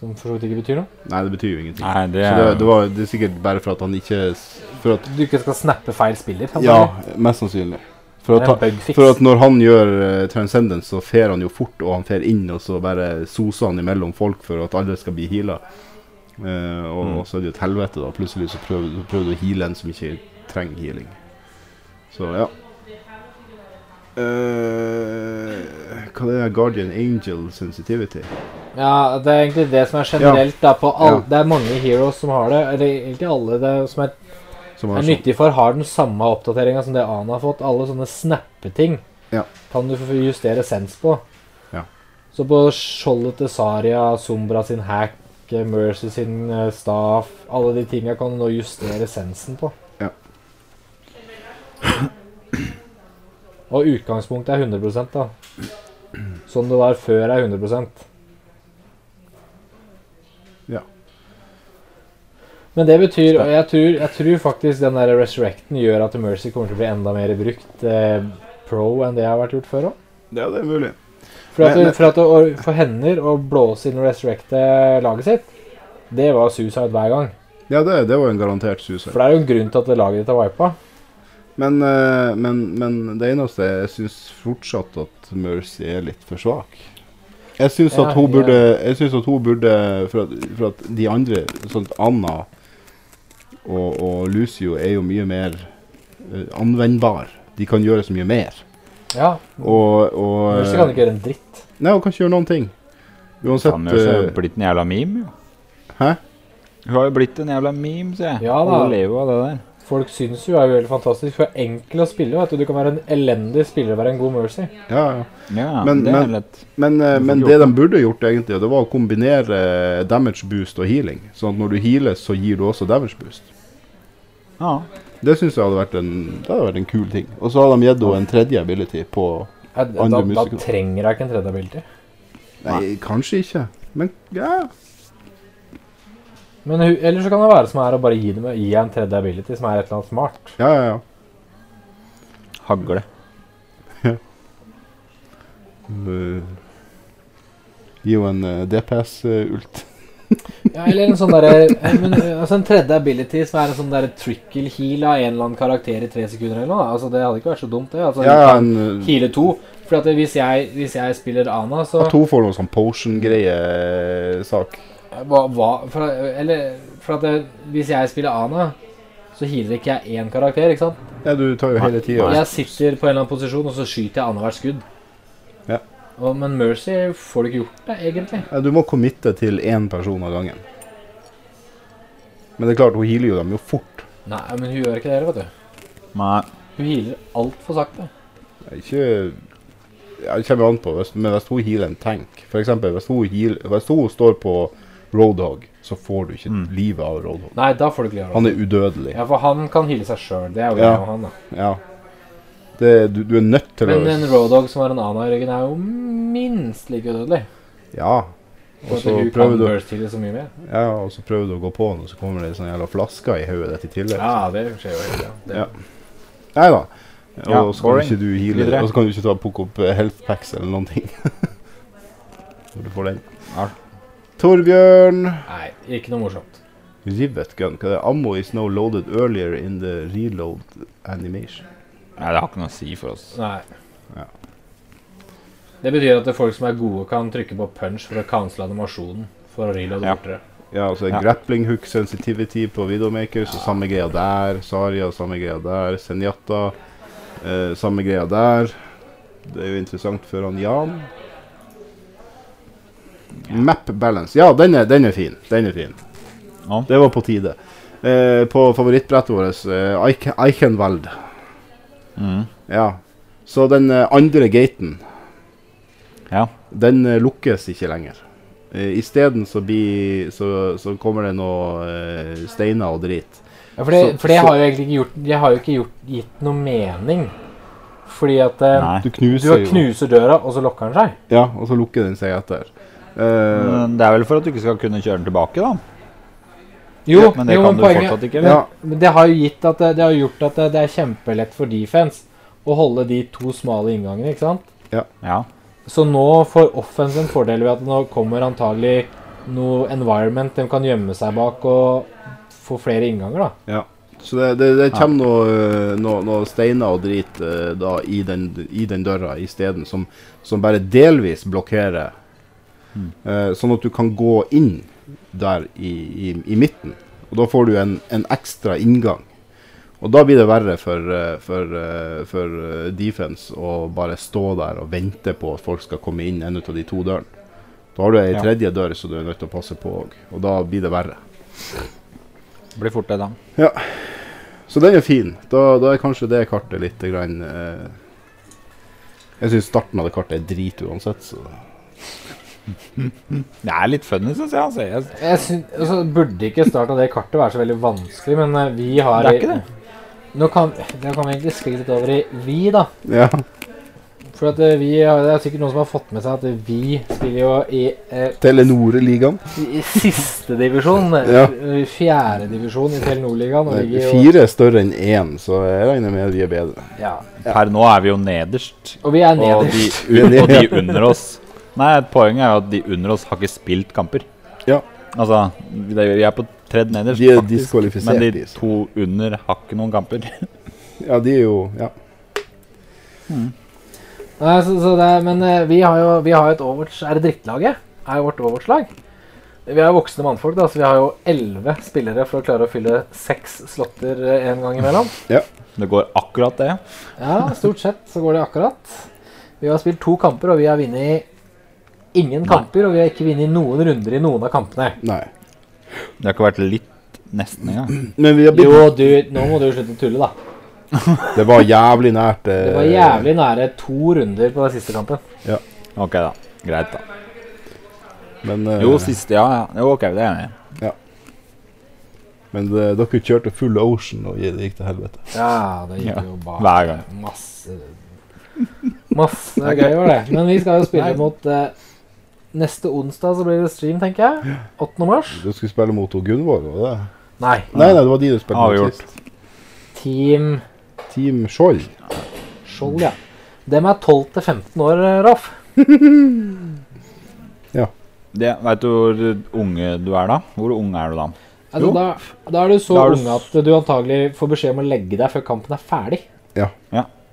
Speaker 2: Som for så vidt ikke betyr noe.
Speaker 4: Nei, det betyr jo ingenting.
Speaker 3: Nei, det
Speaker 4: Så
Speaker 3: er
Speaker 4: det, det, var, det er sikkert bare for at han ikke s- For at
Speaker 2: Du ikke skal snappe feil spiller.
Speaker 4: Ja, mest sannsynlig. For at,
Speaker 2: Det er en
Speaker 4: han-
Speaker 2: bugfix.
Speaker 4: for at når han gjør eh, transcendence, så fer han jo fort, og han fer inn, og så bare soser han imellom folk for at alle skal bli heala. Eh, og,
Speaker 3: Mm.
Speaker 4: og så er det jo et helvete, da. Plutselig så prøver, så prøver du å heale en som ikke trenger healing. Så ja. Eh, hva det er Guardian Angel Sensitivity?
Speaker 2: Ja, det er egentlig det som er generelt da, på all,
Speaker 4: Ja.
Speaker 2: Det er mange heroes som har det, eller egentlig alle det som er,
Speaker 4: Som
Speaker 2: er
Speaker 4: sånn-
Speaker 2: nyttig for, har den samme oppdateringa som det Ana har fått. Alle sånne snappeting
Speaker 4: Ja.
Speaker 2: kan du få justere sens på.
Speaker 4: Ja.
Speaker 2: Så på skjoldet til Saria, Sombra sin hack, Mercy sin eh, staff Alle de tinga kan du nå justere sensen på.
Speaker 4: Ja.
Speaker 2: Og utgangspunktet er 100 da. Sånn det var før er 100 Men det betyr, og jeg tror, jeg tror faktisk den der Resurrecten gjør at Mercy kommer til å bli enda mer brukt eh, pro enn det har vært gjort før òg.
Speaker 4: Ja, det er mulig.
Speaker 2: For, at,
Speaker 4: Men- men-
Speaker 2: for, at, å- for hender å blåse inn og resurrecte laget sitt, det var suicide hver gang.
Speaker 4: Ja, det, det var en garantert suicide.
Speaker 2: For det er jo en grunn til at det laget ditt er wipa.
Speaker 4: Men, eh, men, men det eneste Jeg syns fortsatt at Mercy er litt for svak. Jeg syns
Speaker 2: Ja,
Speaker 4: at hun
Speaker 2: ja.
Speaker 4: burde, jeg synes at hun burde for, at, for at de andre, sånn at Anna og, og Lucio, er jo mye mer eh, anvendbar. De kan gjøre så mye mer.
Speaker 2: Ja,
Speaker 4: Og, og eh,
Speaker 2: Mercy kan ikke gjøre en dritt.
Speaker 4: Nei, hun kan ikke gjøre noen ting. Uansett
Speaker 3: Sandnes er jo
Speaker 4: eh,
Speaker 3: blitt en jævla meme, jo.
Speaker 4: Hæ?
Speaker 3: Hun har jo blitt en jævla meme, sier jeg.
Speaker 2: Ja da.
Speaker 3: Hun lever jo av det der.
Speaker 2: Folk syns jo er jo helt fantastisk. Hun er enkel å spille. Vet du. du kan være en elendig spiller og være en god Mercy.
Speaker 4: ja, ja.
Speaker 3: Ja,
Speaker 4: Men-
Speaker 3: det
Speaker 4: men-
Speaker 3: er lett.
Speaker 4: Men, eh,
Speaker 3: Du får
Speaker 4: men
Speaker 3: ikke
Speaker 4: det
Speaker 3: gjort
Speaker 4: de burde gjort, egentlig, det var å kombinere eh, damage boost og healing. Sånn at når du healer, så gir du også damage boost.
Speaker 3: Ja.
Speaker 4: Det syns jeg hadde vært en, det hadde vært en kul ting. Og så hadde de gitt henne en tredje ability på
Speaker 2: Ja, Da, da, da
Speaker 4: musikere.
Speaker 2: trenger hun ikke en tredje ability.
Speaker 4: Nei, kanskje ikke, men ja.
Speaker 2: Men hun, eller så kan det være som er å bare gi dem gi henne en tredje ability som er et eller annet smart.
Speaker 4: Ja, ja, ja.
Speaker 3: Hagle.
Speaker 4: eh, Uh, gi henne en eh, DPS-ult.
Speaker 2: Ja, eller en sånn derre eh, men, eh, altså En tredje ability som er en sånn derre trickle heal av en eller annen karakter i tre sekunder eller noe. da. Altså, det hadde ikke vært så dumt, det. Altså,
Speaker 4: Ja, ja,
Speaker 2: vi kan
Speaker 4: en,
Speaker 2: Heale to. For at hvis jeg, hvis jeg spiller Ana, så
Speaker 4: at hun får noen sånn eh, potion-greie-sak.
Speaker 2: hva, hva, for, Eller for at hvis jeg spiller Ana, så healer ikke jeg én karakter, ikke sant?
Speaker 4: Ja, du tar jo hele tida.
Speaker 2: Jeg sitter på en eller annen posisjon, og så skyter jeg annethvert skudd.
Speaker 4: Ja.
Speaker 2: Og, men Mercy får du ikke gjort det, egentlig.
Speaker 4: Ja, du må committe til én person av gangen. Men det er klart, hun healer jo dem jo fort.
Speaker 2: Nei, men hun gjør ikke det heller, vet du.
Speaker 3: Nei.
Speaker 2: Hun healer altfor sakte.
Speaker 4: Ikke ja, Det kommer an på, hvis, men hvis hun healer en tank For eksempel, hvis hun, heal, hvis hun står på Roadhog, så får du ikke
Speaker 3: Mm.
Speaker 4: livet av Roadhog.
Speaker 2: Nei, da får du ikke gjøre det.
Speaker 4: Han er udødelig.
Speaker 2: Ja, for han kan hyle seg sjøl. Det er jo
Speaker 4: Ja.
Speaker 2: greia med han, da.
Speaker 4: Ja. Det, du, du er nødt til
Speaker 2: Men en
Speaker 4: å
Speaker 2: Roadhog som har en Ana i ryggen, er jo minst like udødelig.
Speaker 4: Ja.
Speaker 2: Og
Speaker 4: Og
Speaker 2: at hun
Speaker 4: så
Speaker 2: kan
Speaker 4: prøver du
Speaker 2: burst heale så mye mer.
Speaker 4: Ja, og så prøver du å gå på den, og så kommer det en sånn jævla flaske i hodet ditt i tillegg.
Speaker 2: Ja, det skjer jo hele tida. Det-
Speaker 4: Ja. Nei da. Og
Speaker 3: Ja,
Speaker 4: så kan du
Speaker 3: boring.
Speaker 4: ikke du heale,
Speaker 3: Videre.
Speaker 4: og så kan du ikke ta plukke opp eh, health packs eller noen ting. Når du får den.
Speaker 3: Ja.
Speaker 4: Torbjørn
Speaker 2: Nei, ikke noe morsomt.
Speaker 4: Rivet gun. Hva er det? Ammo is now loaded earlier in the reload animation.
Speaker 3: Nei, det har ikke noe å si for oss.
Speaker 2: Nei.
Speaker 4: Ja.
Speaker 2: Det betyr at det er folk som er gode, kan trykke på punch for å cancele animasjonen. For å reloade
Speaker 3: Ja.
Speaker 2: bortere.
Speaker 4: Ja, altså
Speaker 3: Ja.
Speaker 4: grappling hook sensitivity på Videomaker, så samme greia der. Saria, samme greia der. Senjata, eh, samme greia der. Det er jo interessant for han Jan. Map balance. Ja, den er, den er fin. Den er fin.
Speaker 3: Ja.
Speaker 4: Det var på tide. Eh, på favorittbrettet vårt, eh, Eich- Eichenwald.
Speaker 3: Mm.
Speaker 4: Ja. Så den eh, andre gaten,
Speaker 3: Ja.
Speaker 4: den eh, lukkes ikke lenger. Eh, Isteden så, blir- så, så kommer det noe eh, steiner og drit.
Speaker 2: Ja, for det,
Speaker 4: Så-
Speaker 2: for det
Speaker 4: så-
Speaker 2: har jo egentlig ikke gjort Det har jo ikke gjort, gitt noe mening. Fordi at eh,
Speaker 3: Nei.
Speaker 4: Du
Speaker 2: Du
Speaker 4: knuser
Speaker 2: har
Speaker 4: jo.
Speaker 2: knuser døra, og så lokker den seg.
Speaker 4: Ja, og så lukker den seg etter. Eh,
Speaker 3: Men det er vel for at du ikke skal kunne kjøre den tilbake, da.
Speaker 2: Jo,
Speaker 3: men det
Speaker 2: jo,
Speaker 3: kan
Speaker 2: men
Speaker 3: du
Speaker 2: poenget
Speaker 3: fortsatt ikke.
Speaker 4: ja,
Speaker 3: Eller?
Speaker 2: Men det har jo gitt at det, det har gjort at det, det er kjempelett for defense å holde de to smale inngangene, ikke sant?
Speaker 3: Ja.
Speaker 2: Så nå får offense en fordel ved at nå kommer antagelig noe environment de kan gjemme seg bak og få flere innganger, da.
Speaker 4: så det, det, det kommer noe, eh, noe, noe steiner og drit eh, da i den, i den døra isteden, som, som bare delvis blokkerer.
Speaker 3: Mm.
Speaker 4: Eh, sånn at du kan gå inn der i, i, i midten. Og da får du en, en ekstra inngang. Og da blir det verre for, eh, for, eh, for eh, defense å bare stå der og vente på at folk skal komme inn en ut av de to dørene. Da har du ei
Speaker 3: Ja.
Speaker 4: tredje dør som du er nødt til å passe på òg, og da blir det verre.
Speaker 3: Blir fort det, da.
Speaker 4: Så den er fin. Da, da er kanskje det kartet litt grann, eh, Jeg syns starten av det kartet er drit uansett, så
Speaker 3: Det er litt funny, syns jeg. Altså. jeg
Speaker 2: Jeg syn- altså, burde ikke starten av det kartet være så veldig vanskelig, men eh, vi har
Speaker 3: Det er ikke det.
Speaker 2: Nå kan, det kan vi egentlig skli litt over i vi, da.
Speaker 4: Ja.
Speaker 2: For at eh, vi, har- det er sikkert noen som har fått med seg at vi spiller jo i eh,
Speaker 4: Telenor-ligaen.
Speaker 2: I siste divisjon,
Speaker 4: Ja.
Speaker 2: eh, fjerde divisjon i Telenor-ligaen. og ligger jo-
Speaker 4: Fire er større enn én, så jeg regner med at vi er bedre.
Speaker 2: Ja.
Speaker 3: per nå er vi jo nederst,
Speaker 2: Og vi er
Speaker 3: og
Speaker 2: nederst.
Speaker 3: de,
Speaker 4: Vi er
Speaker 3: og de
Speaker 4: nede.
Speaker 3: under oss Nei, poenget er jo at de under oss har ikke spilt kamper.
Speaker 4: Ja.
Speaker 3: Altså, det- vi er på tredje nederst,
Speaker 4: De er
Speaker 3: faktisk.
Speaker 4: diskvalifisert,
Speaker 3: Men
Speaker 4: de,
Speaker 3: de
Speaker 4: så.
Speaker 3: to under har ikke noen kamper.
Speaker 4: Ja, de er jo Ja.
Speaker 2: Nei, så, så det er, men eh, vi har jo vi har jo et overts... Er det drittlaget? Er jo vårt overtslag? Vi er jo voksne mannfolk, da, så vi har jo elleve spillere for å klare å fylle seks slåtter eh, en gang imellom.
Speaker 3: Det går akkurat det.
Speaker 2: Ja, stort sett så går det akkurat. Vi har spilt to kamper, og vi har vunnet ingen kamper. Og vi har ikke vunnet noen runder i noen av kampene.
Speaker 4: Nei.
Speaker 3: Det har ikke vært litt nesten engang.
Speaker 4: Men vi har blitt
Speaker 2: Jo, du, nå må du slutte å tulle, da.
Speaker 4: Det var jævlig nært. eh,
Speaker 2: Det var jævlig nære to runder på den siste kampen.
Speaker 3: Ok, da. Greit, da.
Speaker 4: Men, eh,
Speaker 3: Jo, siste, ja. ja. Jo, ok, det er jeg enig i.
Speaker 4: men eh, dere kjørte full ocean, og det gikk til helvete.
Speaker 2: Ja, det gikk
Speaker 3: Ja,
Speaker 2: jo bare
Speaker 3: hver gang.
Speaker 2: Masse Masse gøy var det. Men vi skal jo spille
Speaker 3: Nei.
Speaker 2: mot eh, Neste onsdag så blir det stream, tenker jeg. 8. mars.
Speaker 4: Du skulle spille mot hun Gunvor, var det?
Speaker 2: Nei.
Speaker 4: Nei, nei, det var de du spilte mot
Speaker 3: Avgjort.
Speaker 4: sist.
Speaker 2: Team
Speaker 4: Team Skjold.
Speaker 2: Skjold, ja. Dem er 12 til 15 år, eh, Raff.
Speaker 3: Det, vet du hvor unge du er da? Hvor ung er du da?
Speaker 2: Altså,
Speaker 4: Jo.
Speaker 2: da, da er du så
Speaker 3: Da er du
Speaker 2: ung at du antagelig får beskjed om å legge deg før kampen er ferdig.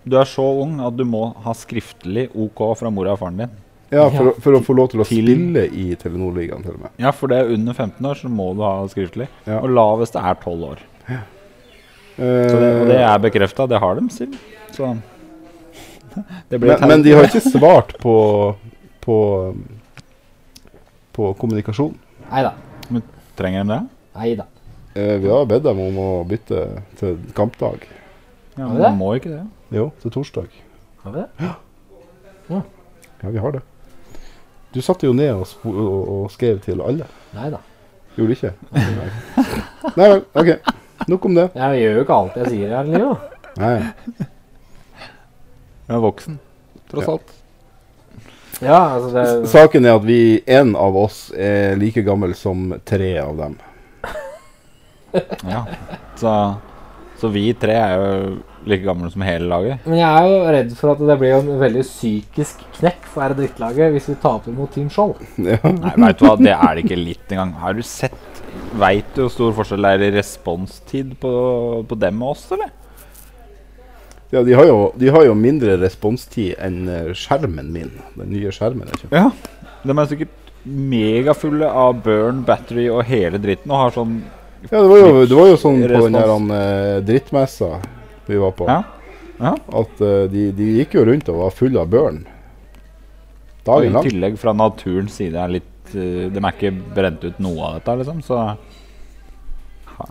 Speaker 3: Du er så ung at du må ha skriftlig OK fra mora og faren din.
Speaker 4: Ja, for, å- for å få lov til å
Speaker 3: Til-
Speaker 4: spille i Telenor-ligaen, til og med.
Speaker 3: Ja, for det er under 15 år, så må du ha skriftlig.
Speaker 4: Ja.
Speaker 3: Og laveste er 12 år. Så det, og det
Speaker 4: Eh,
Speaker 3: er bekrefta, det har de, sier de. Så det blir
Speaker 4: men,
Speaker 3: teit.
Speaker 4: men de har ikke svart på På, på kommunikasjon.
Speaker 2: Nei da.
Speaker 3: Trenger de det?
Speaker 2: Nei da.
Speaker 4: Eh, vi har bedt dem om å bytte til kampdag.
Speaker 3: Ja,
Speaker 2: Har
Speaker 3: men
Speaker 2: vi
Speaker 3: de
Speaker 2: det?
Speaker 3: må ikke det.
Speaker 4: Jo, til torsdag.
Speaker 2: Har vi det?
Speaker 4: Ja, vi har det. Du satte jo ned og, spo- og, og skrev til alle.
Speaker 2: Nei da.
Speaker 4: Gjorde du ikke? Nei. Nei vel, OK. Nok om det.
Speaker 2: Jeg gjør jo ikke alt jeg sier her i livet. da.
Speaker 4: Nei.
Speaker 3: Jeg er voksen, tross
Speaker 4: Ja.
Speaker 3: alt.
Speaker 2: Ja, altså
Speaker 3: Eh.
Speaker 2: det,
Speaker 4: Saken er at vi, en av oss er like gammel som tre av dem.
Speaker 3: Ja. Så, så vi tre er jo like gamle som hele laget.
Speaker 2: Men jeg er jo redd for at det blir jo en veldig psykisk knekk for dette drittlaget hvis vi taper mot Team Skjold.
Speaker 4: Ja.
Speaker 3: Nei, veit du hva, det er det ikke litt engang. Har du sett Veit du hvor stor forskjell det er i responstid på, på dem og oss, eller?
Speaker 4: Ja, de har, jo, de har jo mindre responstid enn eh, skjermen min. Den nye skjermen jeg kjøpte.
Speaker 3: Ja. De er sikkert megafulle av burn, battery og hele dritten og har sånn
Speaker 4: Ja, det var jo, det var jo sånn på den her
Speaker 3: Respons.
Speaker 4: eh, drittmessa vi var på,
Speaker 3: Ja.
Speaker 4: at eh, de, de gikk jo rundt og var fulle av børn.
Speaker 3: Og
Speaker 4: Dagen
Speaker 3: I
Speaker 4: lang.
Speaker 3: tillegg fra naturens side er litt eh, De er ikke brent ut noe av dette, liksom, så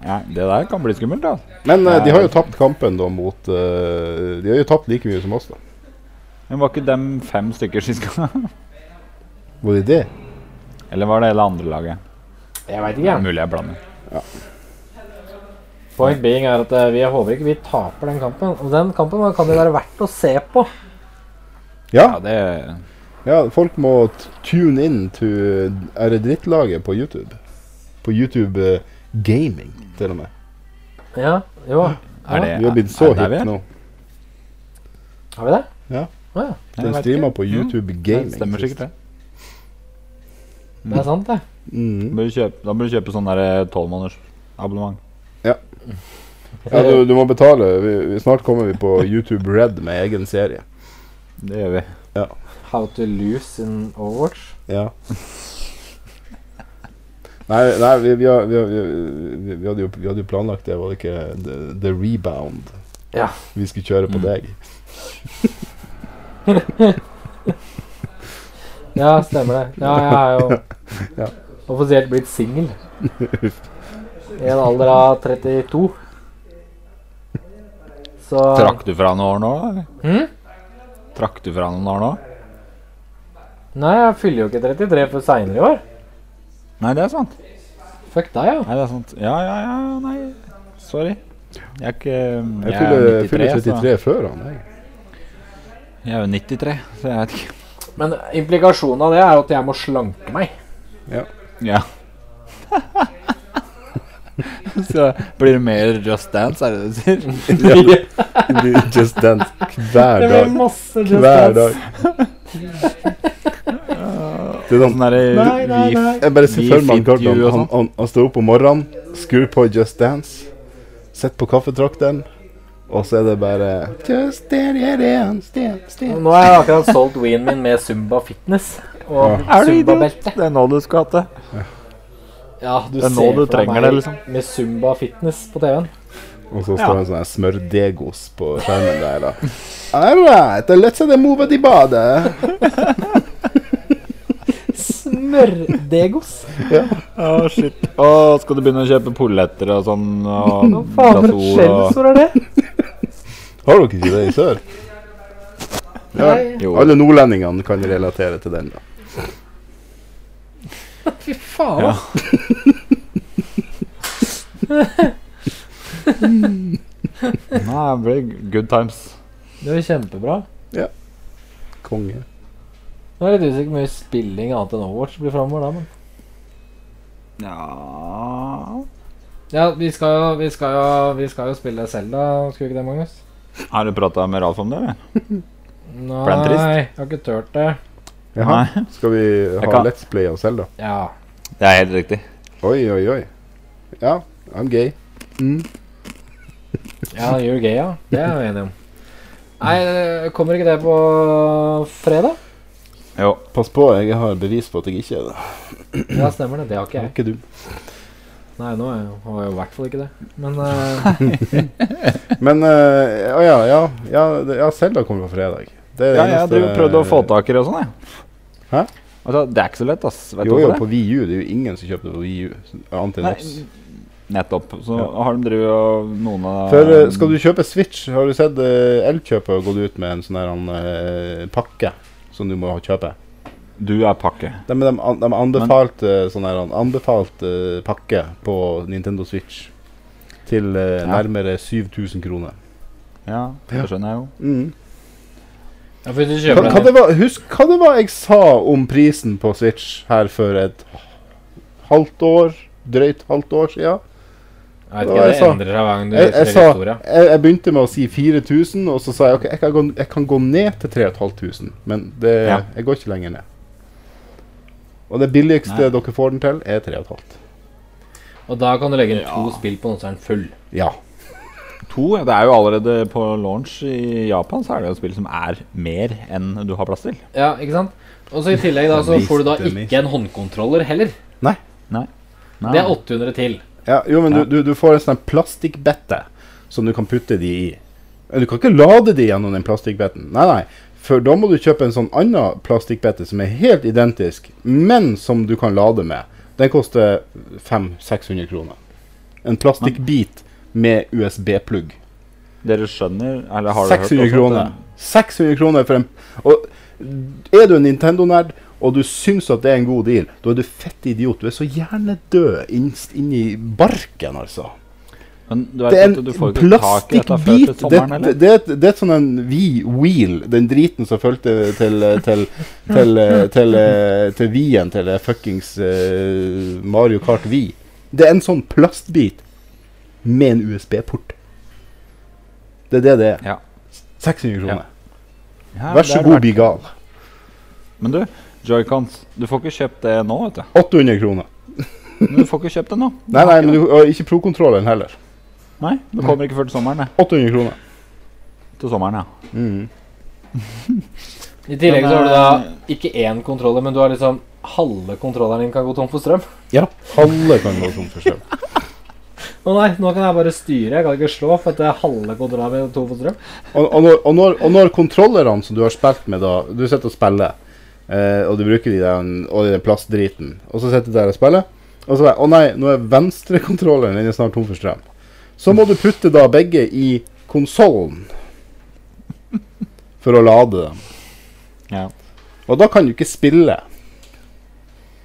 Speaker 3: ja, Det der kan bli skummelt, da.
Speaker 4: Men eh, de har jo tapt kampen da mot eh, De har jo tapt like mye som oss, da.
Speaker 3: Men var ikke dem fem stykker sist gang?
Speaker 4: Var de det?
Speaker 3: Eller var det hele andre laget?
Speaker 2: Jeg veit ikke. jeg.
Speaker 3: Mulig jeg blander.
Speaker 2: Point being er at eh, vi håper ikke vi taper den kampen. Og den kampen kan jo være verdt å se på.
Speaker 4: Ja,
Speaker 3: Ja, det
Speaker 4: ja folk må t- tune in til Er det drittlaget på YouTube? På YouTube eh, Gaming, til og med.
Speaker 2: Ja, jo.
Speaker 3: er det
Speaker 4: Vi har blitt så
Speaker 3: er det der vi
Speaker 4: hip
Speaker 3: er?
Speaker 4: nå.
Speaker 2: Har vi det?
Speaker 4: Ja.
Speaker 2: Å ja.
Speaker 3: Jeg
Speaker 4: Den
Speaker 3: vet
Speaker 4: streamer
Speaker 3: ikke.
Speaker 4: på YouTube
Speaker 3: Det
Speaker 4: Gaming.
Speaker 3: stemmer sikkert, det.
Speaker 2: Det er sant, det.
Speaker 4: Mm.
Speaker 3: Da bør du kjøpe, da bør du kjøpe sånn tolvmåneders abonnement.
Speaker 4: Ja, du, du må betale. Vi, vi, snart kommer vi på YouTube Red med egen serie.
Speaker 3: Det gjør vi.
Speaker 2: How to lose in Overwatch.
Speaker 4: Ja. Nei, nei vi, vi, har- vi, har- vi, vi, vi, hadde jo, vi hadde jo planlagt det, var det ikke The, the Rebound
Speaker 2: Ja.
Speaker 4: vi skulle kjøre på
Speaker 3: Mm.
Speaker 4: deg?
Speaker 2: Ja, stemmer det. Ja, jeg har jo
Speaker 4: Ja.
Speaker 2: offisielt blitt singel. I en alder av 32. Så
Speaker 3: Trakk du fra noen år nå? eller?
Speaker 2: Hm?
Speaker 3: Trakk du fra noen år nå?
Speaker 2: Nei, jeg fyller jo ikke 33 før seinere i år.
Speaker 3: Nei, det er sant.
Speaker 2: Fuck deg, ja.
Speaker 3: Nei, det er sant. Ja, ja, ja, nei. Sorry. Jeg er ikke
Speaker 4: Jeg
Speaker 3: er
Speaker 4: fyller fyller
Speaker 3: 93, så-
Speaker 4: 33 før han. Jeg.
Speaker 3: Jeg er jo 93, så jeg vet ikke.
Speaker 2: Men implikasjonen av det er jo at jeg må slanke meg.
Speaker 3: Ja. så blir det mer Just Dance, er det det du sier?
Speaker 4: Ja, du just dance hver
Speaker 2: Det blir
Speaker 4: dag.
Speaker 2: masse Just
Speaker 4: Hver dag.
Speaker 2: Dance.
Speaker 4: Det er sånn
Speaker 3: Sånn derre
Speaker 2: Nei, nei, nei.
Speaker 4: Jeg bare ser
Speaker 3: Vi
Speaker 4: for meg
Speaker 3: fit
Speaker 4: Gordon.
Speaker 3: you og
Speaker 4: Han, han, han står opp om morgenen, skrur på Just Dance, sitter på kaffetrakteren, og så er det bare Just dance, dance, dance, dance.
Speaker 2: Nå har jeg akkurat solgt ween min med Zumba Fitness og
Speaker 3: Er du idiot?
Speaker 2: Zumba-belte.
Speaker 3: Det er nå du skal ha det.
Speaker 2: Ja, du
Speaker 3: Det er
Speaker 2: ser
Speaker 3: nå du
Speaker 2: for
Speaker 3: trenger
Speaker 2: meg
Speaker 3: det, liksom.
Speaker 2: med Zumba Fitness på TV-en.
Speaker 4: Og så står det en sånn her smørdegos på skjermen der, da. All right, let's have a move at i badet.
Speaker 2: Smørdegos.
Speaker 3: Å, shit. Å, skal du begynne å kjøpe polletter og sånn? Og
Speaker 2: Hva faen for
Speaker 3: glasol
Speaker 2: et
Speaker 3: og-
Speaker 4: liksom?
Speaker 2: skjellsord er det?
Speaker 4: Har dere ikke det i sør? Ja,
Speaker 2: Nei.
Speaker 3: Jo.
Speaker 4: alle nordlendingene kan relatere til den, da.
Speaker 2: Fy faen.
Speaker 3: Ja.
Speaker 2: ass.
Speaker 3: Nei, det blir good times.
Speaker 2: Det var kjempebra.
Speaker 4: Konge.
Speaker 2: Nå er jeg litt usikker på hvor mye spilling annet enn Overwatch blir framover da, men
Speaker 3: Ja
Speaker 2: Ja, vi skal jo, vi skal jo, vi skal jo spille Selda, skulle vi ikke det, Magnus?
Speaker 3: Har du prata med Ralf om det, eller?
Speaker 2: Nei,
Speaker 3: trist?
Speaker 2: jeg har ikke turt det.
Speaker 4: Jaha.
Speaker 3: Nei,
Speaker 4: Skal vi
Speaker 3: Jeg
Speaker 4: ha
Speaker 3: kan-
Speaker 4: Let's Play av Selda?
Speaker 2: Ja.
Speaker 3: det er helt riktig.
Speaker 4: Oi, oi, oi. Ja, I'm gay.
Speaker 2: Ja, you're gay, ja. Det er jeg enig om. Nei, eh, kommer ikke det på fredag?
Speaker 3: Jo.
Speaker 4: Pass på, jeg har bevis på at jeg ikke er det.
Speaker 2: Ja, stemmer det. Det har ikke jeg.
Speaker 4: Ikke du.
Speaker 2: Nei, nå er jeg- har jeg i hvert fall ikke det. Men eh,
Speaker 4: Men eh, ja, ja, ja, ja, det- ja Selda kommer på fredag. Det er
Speaker 3: Ja,
Speaker 4: det
Speaker 3: jeg
Speaker 4: eneste-
Speaker 3: driver og prøvde å få tak i det og sånn, jeg.
Speaker 4: Hæ?
Speaker 3: Altså, det er ikke så lett, ass. Vet
Speaker 4: Jo,
Speaker 3: du
Speaker 4: jo,
Speaker 3: hvorfor
Speaker 4: på VU. Det er jo ingen som kjøpte på VU. Annet enn
Speaker 3: Nei,
Speaker 4: oss.
Speaker 3: Nettopp. Så
Speaker 4: Ja.
Speaker 3: har de drevet og noen av
Speaker 4: For eh, skal du kjøpe Switch, har du sett uh, Elkjøpet har gått ut med en sånn her eh, pakke som du må ha- kjøpe?
Speaker 3: Du er pakke.
Speaker 4: De, de, an- de anbefalte eh, sånn her, an- anbefalt eh, pakke på Nintendo Switch til eh,
Speaker 3: Ja.
Speaker 4: nærmere 7000 kroner.
Speaker 3: Ja,
Speaker 4: Ja.
Speaker 3: det skjønner jeg jo.
Speaker 2: ja, for hvis du
Speaker 4: Hva,
Speaker 2: kjøper
Speaker 4: hva
Speaker 2: den
Speaker 4: det var, husk hva det var jeg sa om prisen på Switch her for et halvt år, drøyt halvt år siden?
Speaker 2: Jeg vet
Speaker 4: Hva
Speaker 2: ikke, det
Speaker 4: jeg sa?
Speaker 2: endrer seg hver gang du
Speaker 4: Jeg, jeg,
Speaker 2: ser
Speaker 4: sa,
Speaker 2: historia.
Speaker 4: jeg, jeg begynte med å si 4000, og så sa jeg ok, jeg kan gå, jeg kan gå ned til 3500, men det,
Speaker 3: Ja.
Speaker 4: jeg går ikke lenger ned. Og det billigste
Speaker 3: Nei.
Speaker 4: dere får den til, er 3500.
Speaker 2: Og da kan du legge inn to
Speaker 3: Ja.
Speaker 2: spill på noe som er full.
Speaker 4: Ja.
Speaker 3: To, ja, det er jo allerede på launch i Japan, så er det jo spill som er mer enn du har plass til.
Speaker 2: Ja, ikke sant? Og så i tillegg da, så
Speaker 4: Mist,
Speaker 2: får du da
Speaker 4: det mist.
Speaker 2: ikke en håndkontroller heller.
Speaker 3: Nei.
Speaker 2: Det er 800 til.
Speaker 4: ja jo, men
Speaker 3: Ja.
Speaker 4: Du, du, du får en sånn plastikkbette som du kan putte de i. Men Du kan ikke lade de gjennom den plastikkbetten. Nei, nei. For da må du kjøpe en sånn annen plastikkbette som er helt identisk, men som du kan lade med. Den koster 500-600 kroner. En plastikkbit med USB-plugg.
Speaker 3: Dere skjønner eller har dere hørt
Speaker 4: 600
Speaker 3: også at
Speaker 4: kroner.
Speaker 3: det-
Speaker 4: 600 kroner for en Og er du en Nintendo-nerd, og du syns at det er en god deal, da er du fett idiot. Du er så gjerne død innst inni barken, altså.
Speaker 3: Men du vet
Speaker 4: Det er
Speaker 3: at du
Speaker 4: en
Speaker 3: får ikke tak i dette før til
Speaker 4: plastikkbit. Det,
Speaker 3: sommeren,
Speaker 4: det,
Speaker 3: eller?
Speaker 4: det, er et- det er et sånn en V-wheel, den driten som fulgte til til, til, til, eh, til, eh, til V-en til det fuckings eh, Mario Kart V. Det er en sånn plastbit med en USB-port. Det er det det er.
Speaker 3: Ja.
Speaker 4: 600 kroner.
Speaker 3: Ja,
Speaker 4: Vær
Speaker 3: det
Speaker 4: så
Speaker 3: er
Speaker 4: god,
Speaker 3: verdt-
Speaker 4: bli gal.
Speaker 3: Men du, Joycons, du får ikke kjøpt det nå, vet du.
Speaker 4: 800 kroner.
Speaker 3: Men du får ikke kjøpt det nå.
Speaker 4: Nei, nei, men du, og ikke pro-kontrollen heller.
Speaker 3: Nei, det kommer ikke før til sommeren, det.
Speaker 4: 800 kroner.
Speaker 3: Til sommeren, ja.
Speaker 4: Mm.
Speaker 2: I tillegg
Speaker 3: Men,
Speaker 2: så har du
Speaker 3: eh,
Speaker 2: da ikke én kontroller, men du har liksom halve kontrolleren din kan gå tom for strøm.
Speaker 4: Ja. Halve kan gå tom for strøm.
Speaker 2: Å nei, nå kan jeg bare styre, jeg kan ikke slå, for at det er halve kontrolleren min er tom for strøm.
Speaker 4: Og, og, når, og, når, og når kontrollerne som du har spilt med da Du sitter og spiller, eh, og du bruker de der, og den plastdriten, og så sitter du der og spiller, og så er Å nei, nå er venstrekontrolleren din snart tom for strøm. Så må du putte da begge i konsollen for å lade dem.
Speaker 3: ja.
Speaker 4: Og da kan du ikke spille.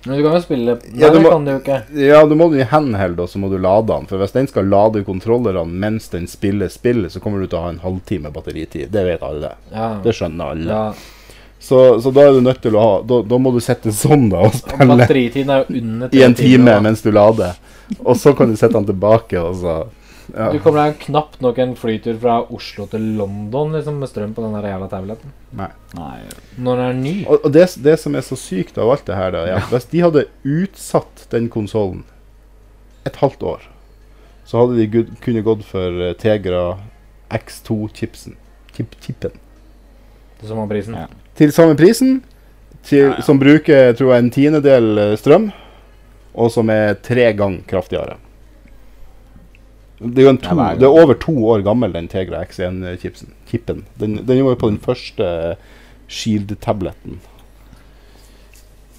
Speaker 2: Men du kan jo spille Nei,
Speaker 4: Ja, du må-
Speaker 2: det kan du jo ikke.
Speaker 4: Ja, du må du i handheld, og så må du lade den. For hvis den skal lade kontrollerne mens den spiller spillet, så kommer du til å ha en halvtime batteritid. Det vet alle.
Speaker 2: Ja.
Speaker 4: Det skjønner alle.
Speaker 2: ja.
Speaker 4: Så, så da er du nødt til å ha Da, da må du sitte sånn, da, og spille
Speaker 2: Batteritiden er jo under
Speaker 4: i en
Speaker 2: tre timer,
Speaker 4: time
Speaker 2: da.
Speaker 4: mens du lader. Og så kan du sette den tilbake, og så ja.
Speaker 2: Du kommer deg knapt nok en flytur fra Oslo til London liksom, med strøm på den der jævla tableten.
Speaker 3: Nei.
Speaker 2: Når den er ny.
Speaker 4: Og, og det, det som er så sykt av alt det her, da, er at hvis de hadde utsatt den konsollen et halvt år, så hadde de gud, kunne gått for eh, Tegra X2-chipsen. Chip-chipen.
Speaker 2: Som var prisen.
Speaker 3: Ja.
Speaker 4: til samme prisen, til,
Speaker 3: Ja, ja.
Speaker 4: som bruker tror jeg, en tiendedel eh, strøm, og som er tre ganger kraftigere. Det er jo en
Speaker 3: Ja,
Speaker 4: to,
Speaker 3: hver gang.
Speaker 4: det er over to år gammel, den Tegra X1-chipsen. Kippen. Den, den var jo på den første eh, Shield-tabletten.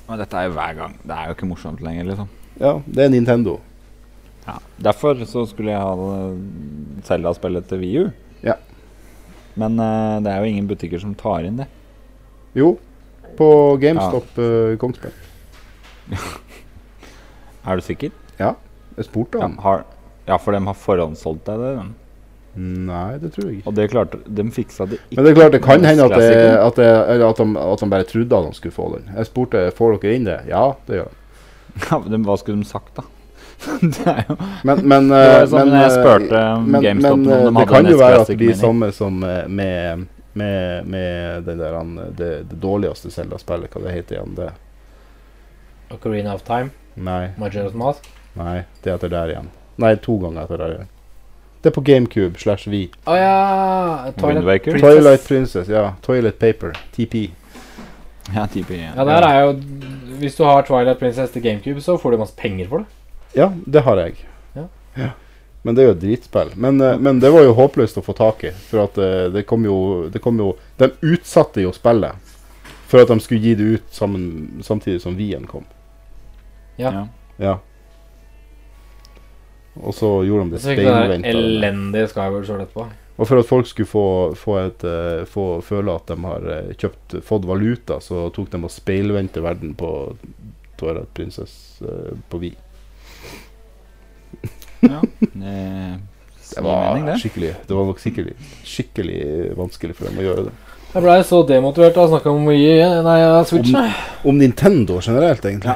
Speaker 3: Men dette er jo hver gang. Det er jo ikke morsomt lenger, liksom.
Speaker 4: Ja, det er Nintendo.
Speaker 3: Ja. Derfor så skulle jeg ha det- Zelda-spillet til VU.
Speaker 4: Ja.
Speaker 3: Men eh, det er jo ingen butikker som tar inn det.
Speaker 4: Jo, på GameStop eh, Kongsberg.
Speaker 3: Er du sikker?
Speaker 4: Jeg spurte
Speaker 3: Ja,
Speaker 4: han.
Speaker 3: har, ja for de har forhåndssolgt deg det. dem.
Speaker 4: Nei, det tror jeg ikke.
Speaker 3: Og det klarte de fiksa det ikke.
Speaker 4: Men det er klart, det kan hende at, det,
Speaker 3: Klassikeren.
Speaker 4: at, det, eller at, de, at de bare trodde at de skulle få den. Jeg spurte får dere inn det. Ja, det gjør de.
Speaker 3: Ja, men Hva skulle de sagt, da? det er jo
Speaker 4: Men, men,
Speaker 3: Det var
Speaker 4: eh,
Speaker 3: jo sånn
Speaker 4: men
Speaker 3: når jeg
Speaker 4: eh,
Speaker 3: spurte om
Speaker 4: men,
Speaker 3: GameStop
Speaker 4: men
Speaker 3: om de
Speaker 4: eh, det
Speaker 3: hadde
Speaker 4: kan
Speaker 3: en
Speaker 4: jo være at
Speaker 3: S-klassiker
Speaker 4: de
Speaker 3: med
Speaker 4: samme som eh, med, med, med den der, han, det, det dårligste Zelda-spillet, hva det heter igjen det?
Speaker 2: Ocarina of Time,
Speaker 4: Nei,
Speaker 2: Majora's Mask.
Speaker 4: nei, det er etter der igjen. Nei, to ganger etter der igjen. Det er på GameCube slash V.
Speaker 2: Å ja! Twilight
Speaker 3: Wind Waker?
Speaker 2: Princess.
Speaker 4: Twilight Princess, ja. Toilet Paper, TP.
Speaker 3: Ja, type igjen.
Speaker 2: Ja, der er jo Hvis du har Twilight Princess til GameCube, så får du masse penger for det.
Speaker 4: Ja, det har jeg.
Speaker 2: Ja.
Speaker 4: Men det er jo et dritspill. Men, eh, men det var jo håpløst å få tak i. For at eh, det kom jo, det kom jo De utsatte jo spillet for at de skulle gi det ut sammen, samtidig som Wien kom.
Speaker 2: Ja.
Speaker 3: Ja.
Speaker 4: Ja. Og så gjorde de det
Speaker 2: Så fikk du den der
Speaker 4: steinventa.
Speaker 2: elendige Skyward Sword etterpå.
Speaker 4: Og for at folk skulle få, få, et, eh, få føle at de har eh, kjøpt, fått valuta, så tok de og speilvendte verden på Twilight Princess eh, på Vi.
Speaker 3: ja. Det,
Speaker 4: Det var,
Speaker 3: mening, det.
Speaker 4: skikkelig Det var nok sikkert skikkelig vanskelig for dem å gjøre det.
Speaker 2: Jeg blei så demotivert av å snakke om mye Nei, ja, Switch. nei.
Speaker 4: Om Nintendo generelt, egentlig.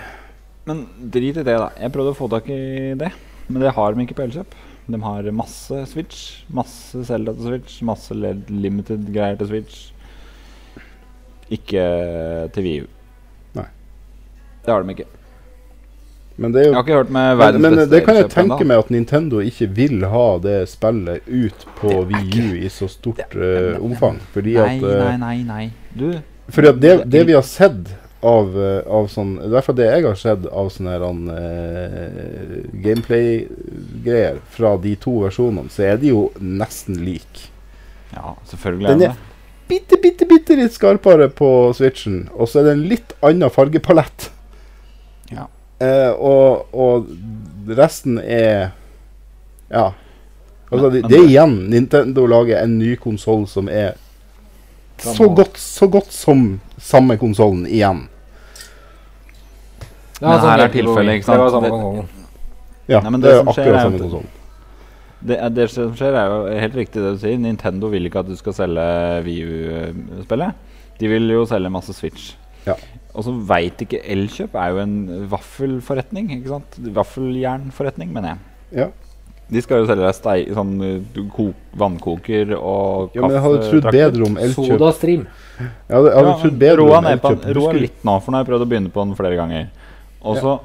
Speaker 3: Men drit i det, da. Jeg prøvde å få tak i det, men det har de ikke på Elkjøp. De har masse Switch, masse Zelda til Switch, masse LED Limited-greier til Switch. Ikke til VU.
Speaker 4: Nei.
Speaker 3: Det har de ikke.
Speaker 4: Men det er
Speaker 3: Jeg
Speaker 4: jo
Speaker 3: har ikke hørt med
Speaker 4: men,
Speaker 3: verdens
Speaker 4: men
Speaker 3: beste
Speaker 4: det kan jeg
Speaker 3: Elkjøp ennå.
Speaker 4: tenke meg at Nintendo ikke vil ha det spillet ut på Wii U i så stort eh, omfang. Fordi
Speaker 3: Nei,
Speaker 4: at, eh,
Speaker 3: nei, nei, nei. Du,
Speaker 4: fordi at det, det vi har sett av, eh, av sånn I hvert fall det jeg har sett av sånne her, han, eh, gameplay-greier fra de to versjonene, så er de jo nesten like.
Speaker 3: Ja, selvfølgelig er
Speaker 4: Den
Speaker 3: det
Speaker 4: er- bitte, bitte, bitte litt skarpere på Switchen, og så er det en litt annen fargepalett.
Speaker 3: Ja.
Speaker 4: Eh, og, og resten er Ja. Altså,
Speaker 3: Men-
Speaker 4: det,
Speaker 3: men
Speaker 4: det er
Speaker 3: det-
Speaker 4: igjen Nintendo lager en ny konsoll som er så
Speaker 2: Gammel.
Speaker 4: godt, så godt som samme konsollen igjen.
Speaker 2: Det var
Speaker 3: Men her er
Speaker 2: Game Boy.
Speaker 3: tilfellet, ikke sant?
Speaker 2: Det var samme
Speaker 3: Det-
Speaker 2: konsolen.
Speaker 4: Ja,
Speaker 3: Nei, men
Speaker 4: det,
Speaker 3: det
Speaker 4: er
Speaker 3: som skjer er
Speaker 4: akkurat samme
Speaker 3: at-
Speaker 4: konsoll.
Speaker 3: Det, er- det som skjer, er jo helt riktig det du sier. Nintendo vil ikke at du skal selge VU-spillet. De vil jo selge masse Switch.
Speaker 4: Ja.
Speaker 3: Og så veit ikke Elkjøp er jo en vaffelforretning. ikke sant? Vaffeljernforretning, mener jeg.
Speaker 4: Ja.
Speaker 3: De skal jo selge deg stei, sånn eh, du ko- vannkoker og
Speaker 4: Ja, men jeg hadde trodd
Speaker 3: kaffetrakter.
Speaker 4: bedre om Elkjøp.
Speaker 2: Soda Stream.
Speaker 4: Jeg hadde, jeg hadde
Speaker 3: Ja, men
Speaker 4: trodd bedre
Speaker 3: roa
Speaker 4: om
Speaker 3: ned på
Speaker 4: Elkjøp.
Speaker 3: den- Roa
Speaker 4: Husker-
Speaker 3: litt nå, for nå har jeg prøvd å begynne på den flere ganger. Og så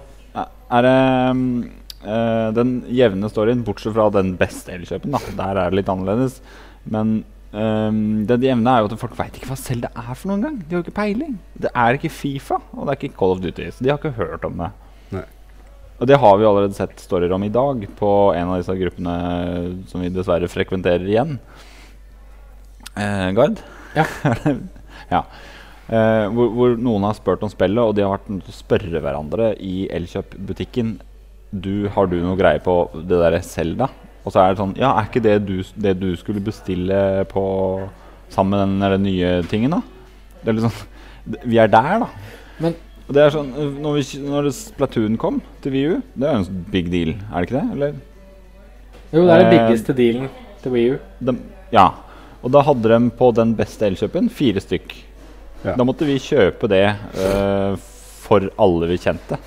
Speaker 3: er det mm, eh, den jevne storyen, bortsett fra den beste elkjøpen. Da. Der er det litt annerledes. Men um, det jevne er jo at folk veit ikke hva Selda er for noen gang. De har jo ikke peiling. Det er ikke Fifa, og det er ikke Call of Duty. Så de har ikke hørt om det.
Speaker 4: Nei.
Speaker 3: Og det har vi jo allerede sett storyer om i dag på en av disse gruppene eh, som vi dessverre frekventerer igjen. Eh, Gard?
Speaker 2: Ja.
Speaker 3: ja. Eh, hvor, hvor noen har spurt om spillet, og de har vært nødt til å spørre hverandre i Elkjøp-butikken du, Har du noe greie på det derre Selda? Og så er det sånn Ja, er ikke det du, det du skulle bestille på sammen med den der nye tingen, da? Det er litt sånn d- Vi er der, da.
Speaker 2: Men-
Speaker 3: og det er sånn eh, Når, vi, kj- når Splatoon kom til VU, det er jo en big deal, er det ikke det? Eller?
Speaker 2: Jo, det er den
Speaker 3: Eh,
Speaker 2: biggeste dealen til Wii U.
Speaker 3: De, ja. Og da hadde de på den beste elkjøpen fire stykk.
Speaker 4: Ja.
Speaker 3: Da måtte vi kjøpe det eh, for alle vi kjente.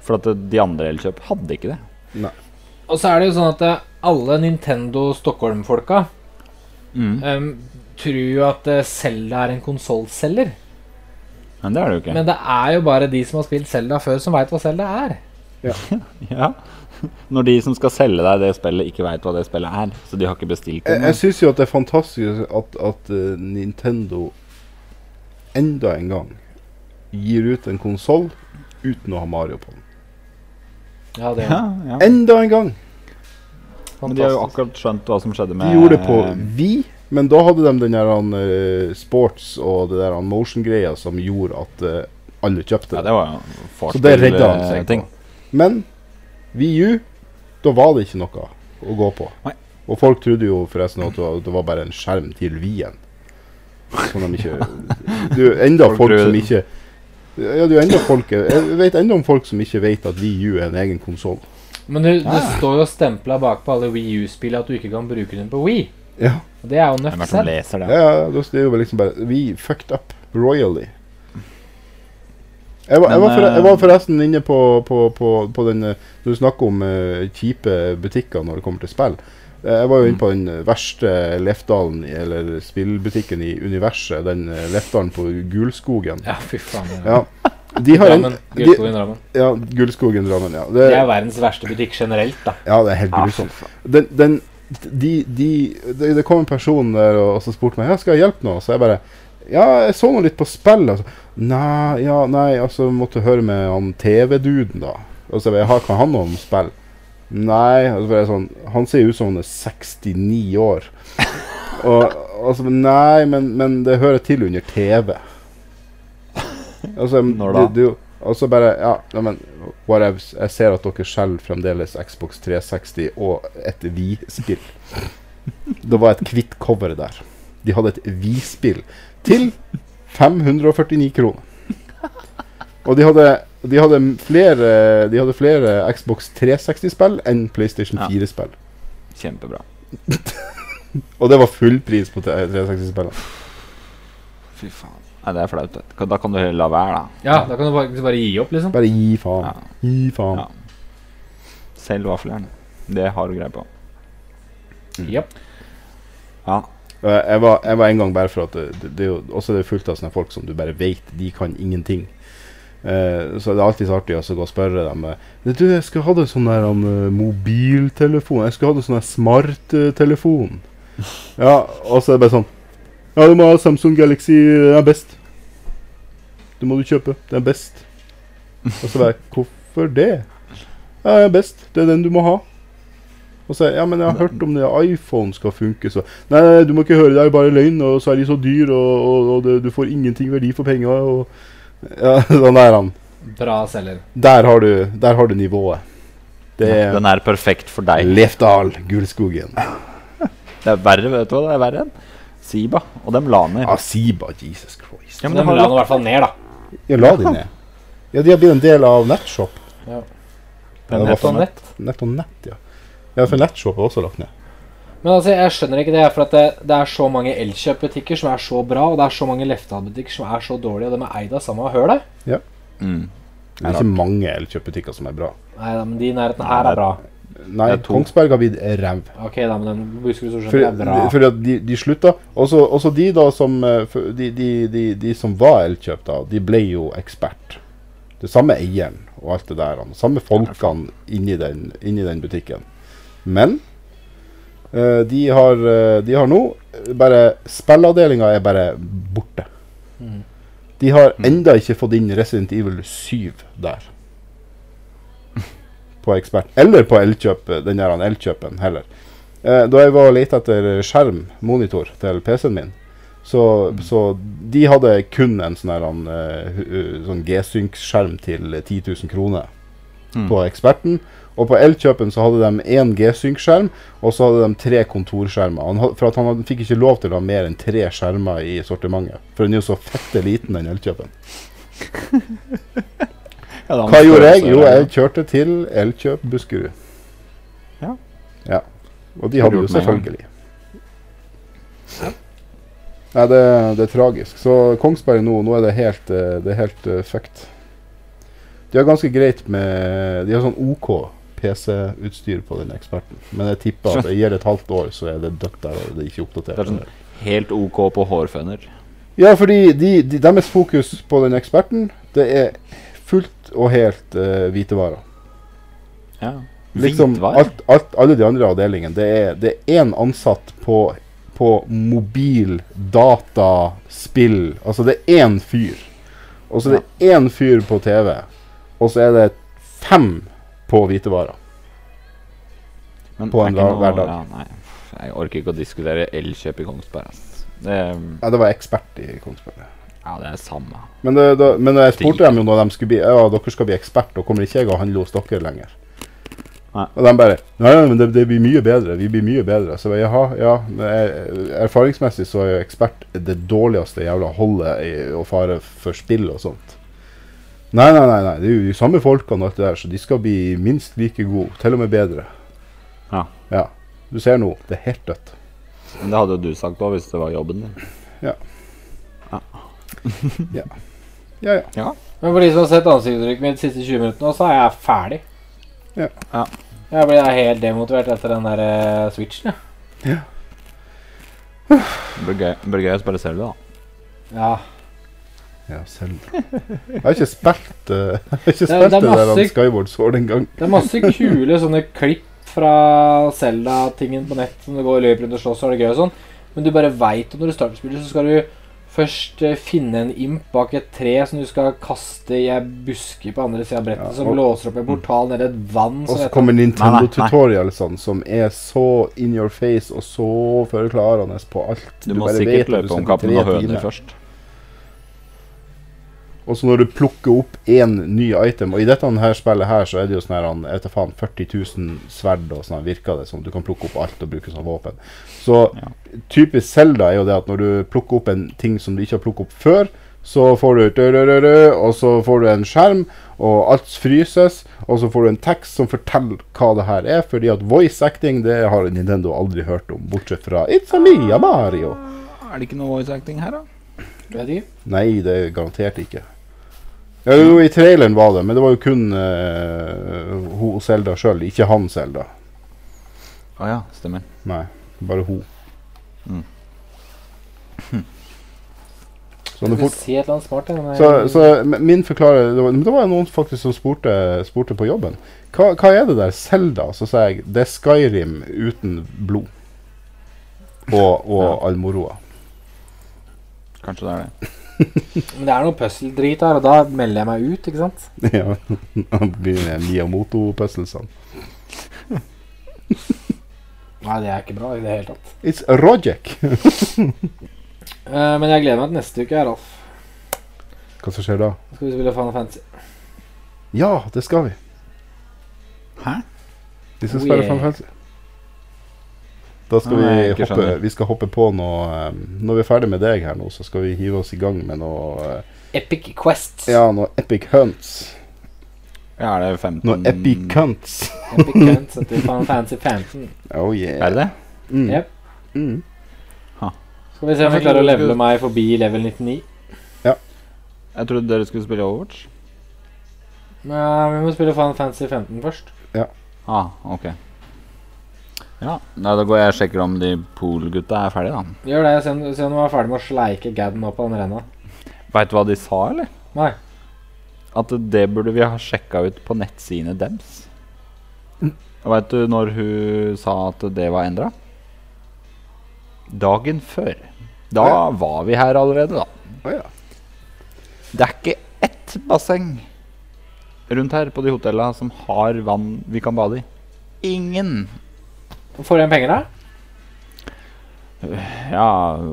Speaker 3: For at eh, de andre elkjøp hadde ikke det.
Speaker 2: Og så er det jo sånn at eh, alle Nintendo Stockholm-folka
Speaker 3: Mm.
Speaker 2: em, tror jo at eh, Zelda er en konsollselger.
Speaker 3: Men det er det jo ikke.
Speaker 2: Men det er jo bare de som har spilt Zelda før, som veit hva Zelda er.
Speaker 3: ja. Når de som skal selge deg det spillet, ikke veit hva det spillet er, så de har ikke bestilt
Speaker 4: Jeg,
Speaker 3: det.
Speaker 4: jeg syns jo at det er fantastisk at, at eh, Nintendo enda en gang gir ut en konsoll uten å ha Mario på den.
Speaker 2: Ja, det er
Speaker 3: Ja, ja.
Speaker 4: Enda en gang!
Speaker 3: Men de har jo
Speaker 2: fantastisk.
Speaker 3: akkurat skjønt hva som skjedde
Speaker 4: De
Speaker 3: med
Speaker 4: gjorde det på Vi, men da hadde de den der han, eh, sports og det der han motion-greia som gjorde at eh, alle
Speaker 3: Ja,
Speaker 4: kjøpte det.
Speaker 3: det var jo
Speaker 4: Så det
Speaker 3: fartsbil,
Speaker 4: redda han
Speaker 3: eh,
Speaker 4: seg
Speaker 3: ting.
Speaker 4: på. Men VU, da var det ikke noe å gå på.
Speaker 3: Nei.
Speaker 4: Og folk trodde jo forresten at det var- det var bare en skjerm til Wien. Som de ikke Du, enda
Speaker 3: Folk
Speaker 4: folk, som
Speaker 3: tror-
Speaker 4: ikke Ja, du, enda folk Jeg vet enda om folk som ikke vet at VU er en egen konsoll.
Speaker 2: Men du, det står jo stempla bakpå alle Wii U-spill at du ikke kan bruke den på Wii.
Speaker 4: Ja.
Speaker 2: Og det er jo
Speaker 3: Hvem er
Speaker 2: nøff
Speaker 3: det som
Speaker 2: selv.
Speaker 3: leser
Speaker 4: Ja,
Speaker 3: det?
Speaker 4: ja, da er det jo liksom bare We fucked up royally. Jeg var,
Speaker 3: Men,
Speaker 4: jeg, var forre- jeg var
Speaker 3: eh,
Speaker 4: forresten inne på, på, på, på den eh, Du snakker om eh, kjipe butikker når det kommer til spill. Eh, Jeg var jo inne på den verste Lefdalen, i- eller spillbutikken i universet. Den eh, Lefdalen på Gulskogen.
Speaker 2: Ja, fy faen. Ja.
Speaker 4: Ja. De har en
Speaker 2: Drammen. Gullskogen Drammen.
Speaker 4: Ja, Gullskogen Drammen, ja.
Speaker 2: Det er verdens verste butikk generelt, da.
Speaker 4: Ja, det er helt
Speaker 3: Ja,
Speaker 4: grusomt. Den, den, de, de, det- det kom en person der og, og så spurte meg ja, skal jeg hjelpe nå. Så jeg bare Ja, jeg så nå litt på spill. Altså. Nei, ja, nei, altså måtte høre med han TV-duden, da. Og så jeg bare, har ikke han noe om spill? Nei. Og så bare sånn Han ser ut som han er 69 år. Og, og så bare, Nei, men, men det hører til under TV. Altså,
Speaker 3: Når da?
Speaker 4: det- det er jo- og så bare Ja, nei, men whatevs. Jeg ser at dere selger fremdeles Xbox 360 og et Wii-spill. Det var et hvitt cover der. De hadde et Wii-spill til 549 kroner. Og de hadde, de hadde flere, de hadde flere Xbox 360-spill enn PlayStation
Speaker 3: Ja.
Speaker 4: 4-spill.
Speaker 3: Kjempebra.
Speaker 4: Og det var full pris på 360-spillene.
Speaker 3: Fy faen. Nei, det er flaut. vet du. Da kan du heller la være, da.
Speaker 2: Ja, Da kan du bare, bare gi opp, liksom.
Speaker 4: Bare gi faen.
Speaker 3: Ja.
Speaker 4: Gi faen.
Speaker 3: Ja. Selv vaffeljern. Det har du greie på. Mm.
Speaker 2: Japp.
Speaker 3: Ja.
Speaker 4: Eh, Jeg var, jeg var en gang bare for at det, det, det er jo også det er fullt av sånne folk som du bare vet de kan ingenting. Eh, så det er alltid så artig å så gå og spørre dem eh, Du, jeg skulle hatt en sånn der han, eh, mobiltelefon. Jeg skulle hatt en sånn der smarttelefon. ja, og så er det bare sånn Ja, du må ha Samsung Galaxy. Den er best. Det må du kjøpe. Den er best. Og så bare Hvorfor det? Ja, den er best. Det er den du må ha. Og så Ja, men jeg har hørt om det iPhone skal funke, så Nei, nei, du må ikke høre, det er jo bare løgn, og så er de så dyr, og, og, og det, du får ingenting verdi for penger, og Ja, sånn er han.
Speaker 2: Bra selger.
Speaker 4: Der har du, der har du nivået. Det er Mm.
Speaker 3: Den er perfekt for deg.
Speaker 4: Lefdal, Gullskogen.
Speaker 3: Det er verre, vet du hva det er verre enn? Siba. Og dem la ned.
Speaker 4: Asiba, Ah, Jesus Christ.
Speaker 3: Ja,
Speaker 2: Så
Speaker 3: men
Speaker 2: de
Speaker 3: det har
Speaker 2: la den i
Speaker 3: lagt-
Speaker 2: hvert fall ned, da.
Speaker 4: Ja, la de ned. Ja, de har blitt en del av Nettshop.
Speaker 3: Den
Speaker 4: Ja, det var
Speaker 3: heter
Speaker 2: På
Speaker 4: for
Speaker 3: nett.
Speaker 2: nett.
Speaker 4: Nett og Nett, ja. Ja, for Nettshop er også lagt ned.
Speaker 2: Men altså, jeg skjønner ikke det. For at det, det er så mange Elkjøp-butikker som er så bra, og det er så mange Leftal-butikker som er så dårlige, og de er eid av samme hølet.
Speaker 3: Mm.
Speaker 4: Det er ikke mange elkjøpbutikker som er bra.
Speaker 2: Nei da, men de i nærheten her er bra.
Speaker 4: Nei,
Speaker 3: Det er to.
Speaker 4: Kongsberg har blitt ræv.
Speaker 2: Ok, da, men den Buskerud Storsenter er bra.
Speaker 4: For, for at de, de slutta. Også, også de da som eh, for- de, de, de, de som var Elkjøp, da, de ble jo ekspert. Det samme eieren og alt det der. han, Samme folkene inni den, inni den butikken. Men eh, de, har, eh, de har nå eh, bare Spillavdelinga er bare borte.
Speaker 2: Mhm.
Speaker 4: De har enda ikke fått inn Resident Evil 7 der. På ekspert. Eller på Elkjøp, eh, den der han Elkjøpen heller. Eh, da jeg var og lette etter skjerm, monitor, til PC-en min, så, så de hadde kun en sånn her han, eh, hu- hu- sånn G-Sync-skjerm til 10 000 kroner
Speaker 3: Mm.
Speaker 4: på Eksperten. Og på Elkjøpen så hadde de én G-Sync-skjerm, og så hadde de tre kontorskjermer. Han, had- for at han hadde, fikk ikke lov til å ha mer enn tre skjermer i sortimentet. For den er jo så fette liten, den Elkjøpen.
Speaker 3: Ja, da må
Speaker 4: Hva
Speaker 3: du
Speaker 4: gjorde jeg?
Speaker 3: prøve
Speaker 4: Jo,
Speaker 3: å se
Speaker 4: jeg
Speaker 3: det.
Speaker 4: kjørte til Elkjøp Buskerud.
Speaker 3: Ja.
Speaker 4: ja. Og de
Speaker 3: Skulle
Speaker 4: hadde
Speaker 3: gjort
Speaker 4: jo
Speaker 3: meg en gang.
Speaker 4: selvfølgelig. Nei, det, det er tragisk. Så Kongsberg nå, nå er det helt, eh, det er helt eh, fucked. De har ganske greit med De har sånn OK PC-utstyr på den eksperten. Men jeg tipper at det gir det et halvt år, så er det dødt der. og det er ikke oppdatert.
Speaker 3: Det er sånn helt OK på hårføner.
Speaker 4: Ja, fordi de, de, deres fokus på den eksperten, det er fullt og helt eh, hvitevarer.
Speaker 3: Ja.
Speaker 4: Liksom,
Speaker 3: Hvitvarer?
Speaker 4: alt, alt, alle de andre avdelingene. Det er- det er én ansatt på, på mobil, data, spill. Altså det er én fyr. Og så er det én fyr på TV. Og så er det fem på hvitevarer.
Speaker 3: Men
Speaker 4: på
Speaker 3: er
Speaker 4: en
Speaker 3: ikke
Speaker 4: hver- hver dag.
Speaker 3: Ja, nei, Pff, jeg orker ikke å diskutere elkjøp i Kongsberg. ass. Det,
Speaker 4: Ja, det var ekspert i Kongsberg.
Speaker 3: ja, det er samme.
Speaker 4: Men, det, da, men jeg spurte dem jo når de skulle bli Ja, dere skal bli ekspert, og kommer ikke jeg å handle hos dere lenger?
Speaker 3: Nei.
Speaker 4: Og de bare Nei, nei, men det, det blir mye bedre. Vi blir mye bedre. Så jeg bare, jaha, ja. Men jeg, erfaringsmessig så er jo ekspert det dårligste jævla holdet i å fare for spill og sånt. Nei, nei, nei. nei. Det er jo de samme folkene og alt det der, så de skal bli minst like gode. Til og med bedre.
Speaker 3: Ja.
Speaker 4: ja. Du ser nå, det er helt dødt.
Speaker 3: Men det hadde jo du sagt òg hvis det var jobben din.
Speaker 4: Ja, ja.
Speaker 2: Men for de som har sett ansiktsuttrykket mitt de siste 20 minuttene, så er jeg ferdig.
Speaker 4: Ja.
Speaker 3: Ja.
Speaker 2: Jeg ble helt demotivert etter den der eh, switchen, ja.
Speaker 3: Blir gøy, blir gøy å spille selv, da.
Speaker 2: ja.
Speaker 4: Ja, selv. Jeg har ikke spilt, eh, jeg
Speaker 2: Det
Speaker 4: har ikke
Speaker 2: er-
Speaker 4: spilt
Speaker 2: det er
Speaker 4: det, der
Speaker 2: masse-
Speaker 4: han Skyward Sword engang.
Speaker 2: Det er masse kule sånne klipp fra Zelda-tingen på nett som du går og løper rundt og slåss, og har det gøy og sånn. Men du bare veit at når du starter spillet, så skal du først eh, finne en imp bak et tre som du skal kaste i ei buske på andre sida av brettet,
Speaker 4: Ja,
Speaker 2: som
Speaker 4: og-
Speaker 2: blåser opp en portal nede i et vann.
Speaker 4: Og
Speaker 2: som
Speaker 4: så
Speaker 2: heter-
Speaker 4: kommer
Speaker 3: Nei, nei, nei.
Speaker 4: Nintendo-tutorialsene som er så in your face og så forklarende på alt.
Speaker 3: Du, må
Speaker 4: bare vet at
Speaker 3: sikkert
Speaker 4: du
Speaker 3: løpe
Speaker 4: skal
Speaker 3: om kappen
Speaker 4: tre
Speaker 3: og høner
Speaker 4: timer.
Speaker 3: først.
Speaker 4: Og så når du plukker opp én ny item, og i dette her spillet her så er det jo sånn her, han, jeg vet da faen, 40 000 sverd og sånn her, virker det som. Du kan plukke opp alt og bruke som våpen. Så typisk Zelda er jo det at når du plukker opp en ting som du ikke har plukket opp før, så får du dødødødø, og så får du en skjerm, og alt fryses, og så får du en tekst som forteller hva det her er, fordi at voice acting, det har Nintendo aldri hørt om, bortsett fra It's a Mia Mario.
Speaker 3: Er det ikke noe voice acting her, da?
Speaker 2: Vet ikke.
Speaker 4: Nei, det er garantert ikke. Ja, jo, i traileren var det, men det var jo kun eh, hun Selda sjøl, ikke han Selda.
Speaker 3: Å ja, stemmer.
Speaker 4: Nei, bare hun.
Speaker 3: Mm.
Speaker 4: Så,
Speaker 2: Jeg
Speaker 4: det
Speaker 2: skal
Speaker 4: fort,
Speaker 2: si et eller annet smart. jeg, men
Speaker 4: så,
Speaker 2: jeg-
Speaker 4: så m- min forklarer Det var, men det var jo noen faktisk som spurte, spurte på jobben. Hva, hva er det der Selda? Så sa jeg det er Skyrim uten blod. Og, og
Speaker 3: Ja.
Speaker 4: Almoroa.
Speaker 3: Kanskje det er det.
Speaker 2: Men det er noe puzzle-drit her, og da melder jeg meg ut, ikke sant?
Speaker 4: Ja, Miyamoto-puzzlesene.
Speaker 2: Nei, det er ikke bra i det hele tatt.
Speaker 4: It's Rojek.
Speaker 2: Eh, men jeg gleder meg til neste uke, Ralf.
Speaker 4: Hva som skjer da?
Speaker 2: Da skal vi spille Final Fantasy.
Speaker 4: Ja, det skal vi.
Speaker 3: Hæ?
Speaker 4: Vi skal
Speaker 2: Oh,
Speaker 4: spille
Speaker 2: yeah.
Speaker 4: Final Fantasy. Da skal
Speaker 3: Nei, jeg
Speaker 4: vi,
Speaker 3: ikke
Speaker 4: hoppe,
Speaker 3: skjønner.
Speaker 4: vi skal hoppe på noe eh, Når vi er ferdig med deg her nå, så skal vi hive oss i gang med noe eh,
Speaker 2: Epic Quest.
Speaker 4: Ja, noe epic hunts.
Speaker 3: Ja, er det 15
Speaker 4: Noe epic hunts.
Speaker 2: Epic Quest etter Final Fantasy 15.
Speaker 4: Oh
Speaker 3: Er
Speaker 4: yeah.
Speaker 3: det det?
Speaker 4: Mm.
Speaker 2: Jep.
Speaker 4: Mm.
Speaker 2: Skal vi se om vi klarer å levele meg forbi level 99.
Speaker 3: Jeg trodde dere skulle spille Overwatch.
Speaker 2: Men vi må spille Final Fantasy 15 først.
Speaker 3: Ah, ok. Ja, Nei, da går jeg og sjekker om de Pool-gutta er ferdige, da.
Speaker 2: Gjør det. Se om se om du er ferdig med å sleike Gadden opp av den renna.
Speaker 3: Veit du hva de sa, eller?
Speaker 2: Nei.
Speaker 3: At det burde vi ha sjekka ut på nettsidene dems. Veit du når hun sa at det var endra? Dagen før. Da
Speaker 4: Ja.
Speaker 3: var vi her allerede, da.
Speaker 4: Å ja.
Speaker 3: Det er ikke ett basseng rundt her på de hotellene som har vann vi kan bade i. Ingen.
Speaker 2: Får du igjen penger, da?
Speaker 3: Ja,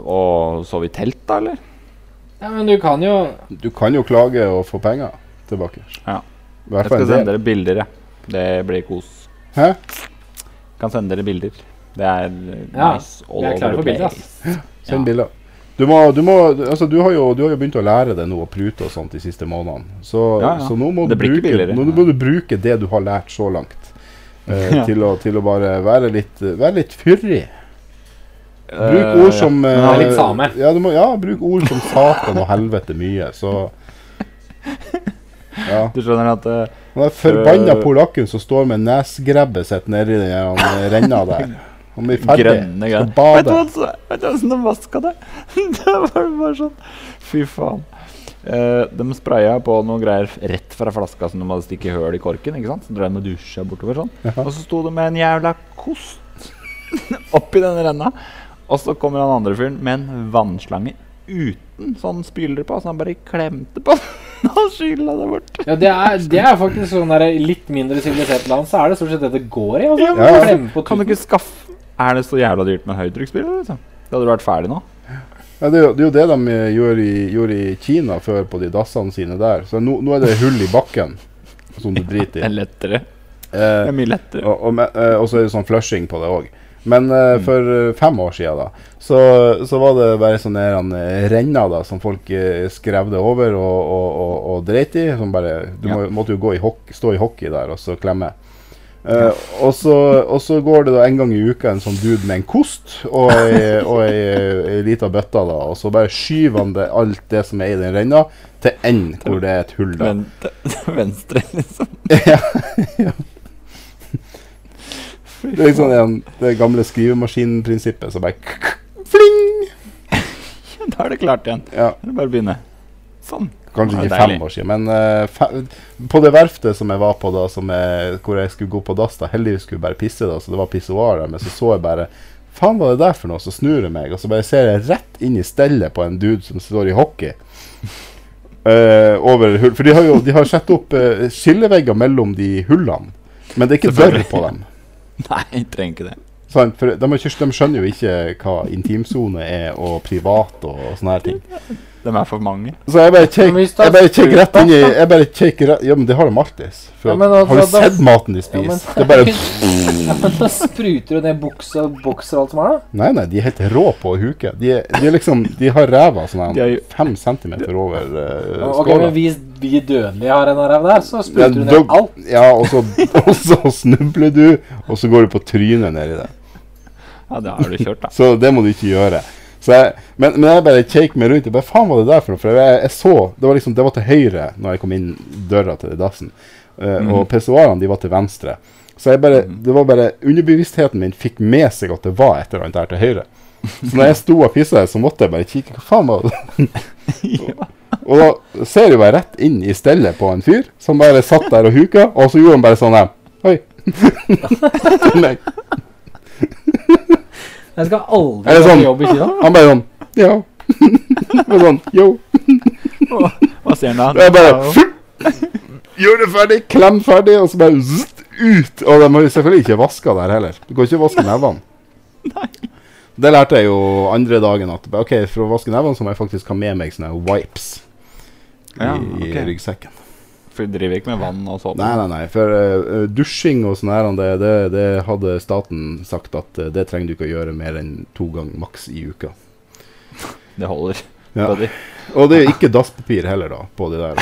Speaker 3: og sove i telt, da, eller?
Speaker 2: Ja, men du kan jo
Speaker 4: Du kan jo klage og få penger tilbake.
Speaker 3: Ja.
Speaker 4: I hvert
Speaker 3: Jeg skal
Speaker 4: fall en
Speaker 3: sende
Speaker 4: del.
Speaker 3: dere bilder, jeg. Det blir kos.
Speaker 4: Hæ?
Speaker 3: Kan sende dere bilder. Det er eh,
Speaker 2: Ja,
Speaker 3: nice
Speaker 2: vi er klare for bilder, ass.
Speaker 4: Send
Speaker 3: Ja.
Speaker 4: bilder. Du, må, du, må, altså, du, har jo, du har jo begynt å lære deg noe å prute og sånt de siste månedene. Så,
Speaker 3: Ja, ja.
Speaker 4: så nå, må du
Speaker 3: Det blir ikke
Speaker 4: bruke,
Speaker 3: billigere.
Speaker 4: nå må du bruke det du har lært så langt, eh,
Speaker 3: Ja.
Speaker 4: til, å, til å bare være litt, være litt fyrig. Bruk
Speaker 3: Eh,
Speaker 4: ord som eh,
Speaker 2: Ja, litt same.
Speaker 4: Ja, du må, ja, bruk ord som satan og helvete mye, så Ja.
Speaker 3: Du skjønner at eh,
Speaker 4: Han der forbanna polakken som står med nesgrebbet sitt nedi den her, han renna der. Han blir ferdig.
Speaker 3: grønne
Speaker 4: Skal
Speaker 3: greier Vet du
Speaker 4: bade.
Speaker 3: hva så- vet du hvordan de vaska det? det var det bare sånn Fy faen. Eh, de spraya på noe greier f- rett fra flaska som de hadde stikket høl i korken. ikke sant? Så drev de og dusja bortover sånn.
Speaker 4: Jaha.
Speaker 3: Og så sto det med en jævla kost oppi den renna. Og så kommer han andre fyren med en vannslange uten sånn spyler på, så han bare klemte på den og skylla det bort.
Speaker 2: Ja, det er, det er faktisk sånn der i litt mindre sivilisert land, så er det stort sett det det går i. Altså.
Speaker 3: Ja,
Speaker 4: men-
Speaker 2: Klemme på
Speaker 3: Kan du
Speaker 2: tuten.
Speaker 3: ikke skaffe Er det så jævla dyrt med høytrykksspiller? Liksom? Det hadde vært ferdig nå.
Speaker 4: Ja, det, er jo, det er jo det de eh, gjør i, gjorde i Kina før på de dassene sine der. Så nå, nå er det hull i bakken som du
Speaker 3: Det
Speaker 4: driter
Speaker 3: er
Speaker 4: i.
Speaker 3: lettere. Det
Speaker 4: Eh,
Speaker 3: er mye lettere.
Speaker 4: og, og, me- eh, og så er det sånn flushing på det òg. Men eh, for eh, fem år siden da, så, så var det bare sånne her, han, eh, renner da, som folk eh, skrevde over og, og, og, og dreit i. Som bare, du må, måtte jo gå i hok stå i hockey der og så klemme. Eh, og, så, og så går det da en gang i uka en sånn dude med en kost og ei, og ei, ei lita bøtte, da, og så bare skyver han det, alt det som er i den renna, til enden hvor det er et hull. da.
Speaker 3: Men til venstre, liksom.
Speaker 4: Det er liksom den, det gamle skrivemaskinprinsippet som bare Fling!
Speaker 3: Da er det klart igjen.
Speaker 4: Ja,
Speaker 3: Da er det bare å begynne. Sånn.
Speaker 4: kanskje
Speaker 3: Ja,
Speaker 4: ikke
Speaker 3: deilig.
Speaker 4: fem år siden, men eh, fe- på det verftet som jeg var på da, som jeg, hvor jeg skulle gå på dass, da heldigvis skulle jeg bare pisse, da, så det var pissoar der, men så så jeg bare Faen, hva er det der for noe? Så snur jeg meg, og så bare ser jeg rett inn i stellet på en dude som står i hockey. Eh, over hull For de har jo de har satt opp eh, skillevegger mellom de hullene, men det er ikke dør
Speaker 3: Selvfølgelig.
Speaker 4: på dem.
Speaker 3: Nei, jeg trenger ikke det.
Speaker 4: Sant, for de, har ikke, de skjønner jo ikke hva intimsone er, og privat og, og sånne her ting.
Speaker 3: De er for mange.
Speaker 4: Så jeg bare
Speaker 2: Men hvis det er
Speaker 4: kikker
Speaker 2: fullt
Speaker 4: rett inn i
Speaker 2: opp, da?
Speaker 4: jeg bare kikker rett, Ja, men det har de alltid. For
Speaker 2: Ja,
Speaker 4: at-
Speaker 2: men da-
Speaker 4: har du
Speaker 2: da- da-
Speaker 4: sett maten de
Speaker 2: Ja,
Speaker 4: spiser?
Speaker 2: men-
Speaker 4: Det er bare
Speaker 2: Ja, men da spruter du ned buksa og bokser og alt som er, da.
Speaker 4: Nei, nei, de er helt rå på å huke. De, er, de, er liksom, de har ræva sånn
Speaker 3: De er jo-
Speaker 4: her fem centimeter over eh,
Speaker 2: Og- Ok,
Speaker 4: skåla.
Speaker 2: men vi, vi dødelige har en ræv der, så
Speaker 4: Ja,
Speaker 2: spruter du ned
Speaker 4: dog-
Speaker 2: alt.
Speaker 4: ja, og så, og så snubler du, og så går du på trynet nedi det.
Speaker 3: Ja, det har du kjørt, da.
Speaker 4: Så det må du ikke gjøre. Så jeg, men, men jeg bare kjekk meg rundt. Jeg bare, faen var det der for noe? For jeg, jeg så, det var liksom, det var til høyre når jeg kom inn døra til dassen. Eh, Og pissoarene, de var til venstre. Så jeg bare, det var bare, underbevisstheten min fikk med seg at det var et eller annet der til høyre. Så når jeg sto og pissa, så måtte jeg bare kikke. Hva faen var det? Og da ser jeg bare rett inn i stellet på en fyr som bare satt der og huka, og så gjorde han bare sånn her. Oi. Til meg.
Speaker 2: Jeg skal
Speaker 4: Er
Speaker 2: aldri
Speaker 4: det
Speaker 2: gå
Speaker 4: sånn?
Speaker 2: på jobb i Kina.
Speaker 4: Han bare sånn Ja. Og sånn Yo.
Speaker 3: Hva sier han
Speaker 4: Og
Speaker 3: da?
Speaker 4: jeg bare «Fup!» Gjør det ferdig, klem ferdig, og så bare zzzt, ut. Og de har jo selvfølgelig ikke vaska der heller. Du kan ikke vaske nevene. Det lærte jeg jo andre dagen at ok, for å vaske nevene så må jeg faktisk ha med meg sånne wipes i,
Speaker 3: Ja,
Speaker 4: i
Speaker 3: ok.
Speaker 4: ryggsekken.
Speaker 3: For de driver ikke med vann og sånn?
Speaker 4: Nei, nei, nei. For eh, dusjing og sånn her, det, det, det hadde staten sagt at eh, det trenger du ikke å gjøre mer enn to ganger maks i uka.
Speaker 3: Det holder.
Speaker 4: Ja.
Speaker 3: Buddy.
Speaker 4: Og det er ikke dasspapir heller, da, på de der.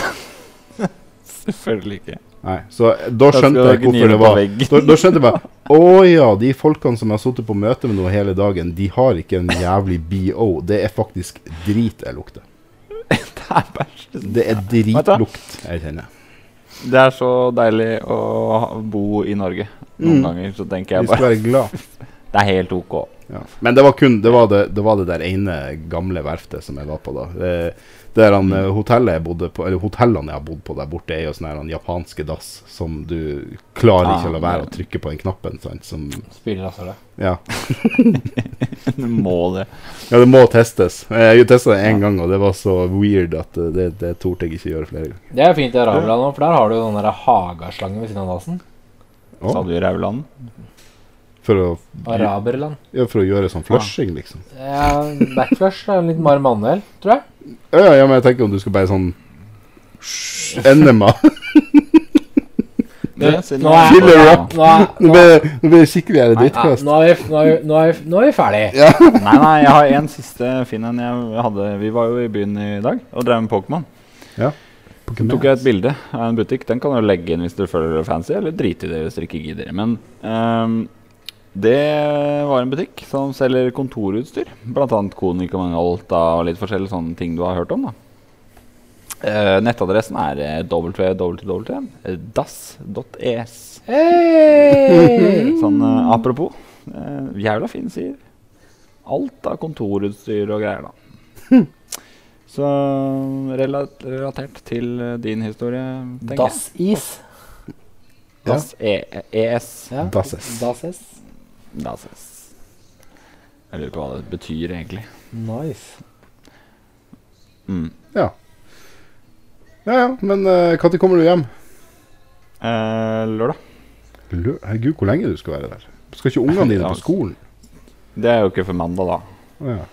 Speaker 3: Selvfølgelig ikke.
Speaker 4: Nei, så da
Speaker 3: Da
Speaker 4: skjønte
Speaker 3: skal dere
Speaker 4: jeg
Speaker 3: gni
Speaker 4: hvorfor det
Speaker 3: det på
Speaker 4: var
Speaker 3: veggen.
Speaker 4: da, da skjønte jeg bare Å ja, de folkene som jeg har sittet på møte med nå hele dagen, de har ikke en jævlig BO. Det er faktisk drit jeg lukter.
Speaker 3: Det er bæsj.
Speaker 4: Det er dritlukt jeg kjenner.
Speaker 3: Det er så deilig å ha- bo i Norge. Noen
Speaker 4: Mm.
Speaker 3: ganger så tenker
Speaker 4: Vi
Speaker 3: jeg
Speaker 4: skal
Speaker 3: bare
Speaker 4: være glad.
Speaker 3: Det er helt ok.
Speaker 4: Ja. Men det var kun det var det, det var det der ene gamle verftet som jeg var på da. Eh, Det er han, eh, hotellet jeg bodde på, eller hotellene jeg har bodd på der borte, er jo sånne her han japanske dass som du klarer
Speaker 3: Ah,
Speaker 4: ikke å la være å trykke på den knappen. Sant? Som,
Speaker 2: Spiller altså det.
Speaker 4: ja.
Speaker 3: Du må det.
Speaker 4: Ja, det må testes. Eh, Jeg testa det én gang, og det var så weird at eh, det, det torde jeg ikke gjøre flere ganger.
Speaker 2: Det er fint i Arabia nå, for der har du jo den der hagaslangen ved siden av dassen.
Speaker 4: Å,
Speaker 3: Sa du i Rauland?
Speaker 4: For å,
Speaker 2: Araberland.
Speaker 4: ja, for å gjøre sånn flushing, liksom.
Speaker 2: Ja, backflush er en litt mer manuell, tror jeg.
Speaker 4: Ja, ja, ja, men jeg tenker om du skal bare sånn Enema.
Speaker 2: Det-
Speaker 3: siden
Speaker 2: nå
Speaker 3: jeg-
Speaker 4: Filler
Speaker 3: Ja.
Speaker 4: up.
Speaker 2: Nå er,
Speaker 4: Nå
Speaker 2: nå,
Speaker 4: blir nå blir det skikkelig jævlig
Speaker 2: ja,
Speaker 4: drittkast.
Speaker 2: nå, er, vi, nå, er, vi- nå, er, vi- nå er vi ferdig.
Speaker 3: Nei, nei, jeg har en siste fin en jeg hadde. Vi var jo i byen i dag og drev med Pokémon. tok jeg et bilde av en butikk. Den kan du legge inn hvis du føler det fancy, eller drite i det hvis dere ikke gidder. Men ehm, det var en butikk som selger kontorutstyr. Blant annet Konica Mangalta og litt forskjellige sånne ting du har hørt om. da. Eh, nettadressen er eh, www.dass.es.
Speaker 2: Hey!
Speaker 3: Sånn eh, apropos. eh, jævla fin sier. Alt av kontorutstyr og greier, da. Så rela- relatert til eh, din historie, tenker jeg.
Speaker 2: Dassis.
Speaker 4: Ja.
Speaker 3: Dass e ES.
Speaker 2: Ja.
Speaker 4: Dasses.
Speaker 2: Dasses.
Speaker 3: Dasses. Jeg lurer på hva det betyr, egentlig.
Speaker 2: Nice.
Speaker 3: Mm.
Speaker 4: Ja. ja ja, men når kommer du hjem?
Speaker 3: Eh, lørdag.
Speaker 4: Lø- Herregud, hvor lenge du skal være der? Skal ikke ungene dine
Speaker 3: altså.
Speaker 4: på skolen?
Speaker 3: Det er jo ikke for mandag, da.
Speaker 4: Å, Ja.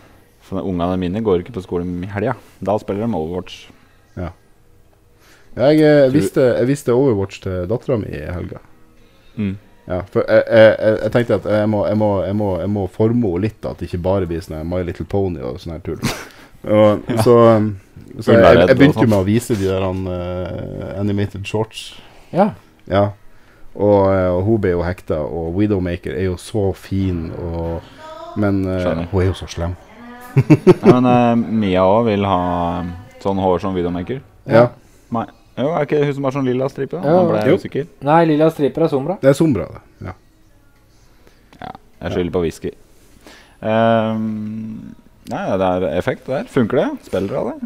Speaker 3: For Ungene mine går ikke på skolen i helga. Da spiller de Overwatch.
Speaker 4: Jeg, eh, visste, jeg visste Overwatch til dattera mi i helga.
Speaker 3: Mm.
Speaker 4: Ja, for jeg, jeg, jeg, jeg tenkte at jeg må, jeg må, jeg må, jeg må forme henne litt, da, at det ikke bare blir sånn her My Little Pony og sånn her tull. Og, Så, så jeg, jeg, jeg begynte jo med å vise de der han, eh, animated shorts.
Speaker 2: Ja.
Speaker 4: Ja. Og, eh, og hun ble jo hekta, og Widowmaker er jo så fin, og, men eh,
Speaker 3: Skjønner.
Speaker 4: hun er jo så slem.
Speaker 3: Nei, men eh, Mia òg vil ha sånn hår som videomaker.
Speaker 4: Ja.
Speaker 3: Nei. Jo, er ikke det hun som har sånn lilla stripe? da?
Speaker 2: Ja,
Speaker 3: Nå ble
Speaker 4: jo.
Speaker 3: jeg usikker.
Speaker 2: Nei, lilla striper er sombra.
Speaker 4: Det er Sombra, det. Ja.
Speaker 3: Jeg skylder på whisky. Ehm, nei, det er effekt der. Funker det? Spiller dere av det?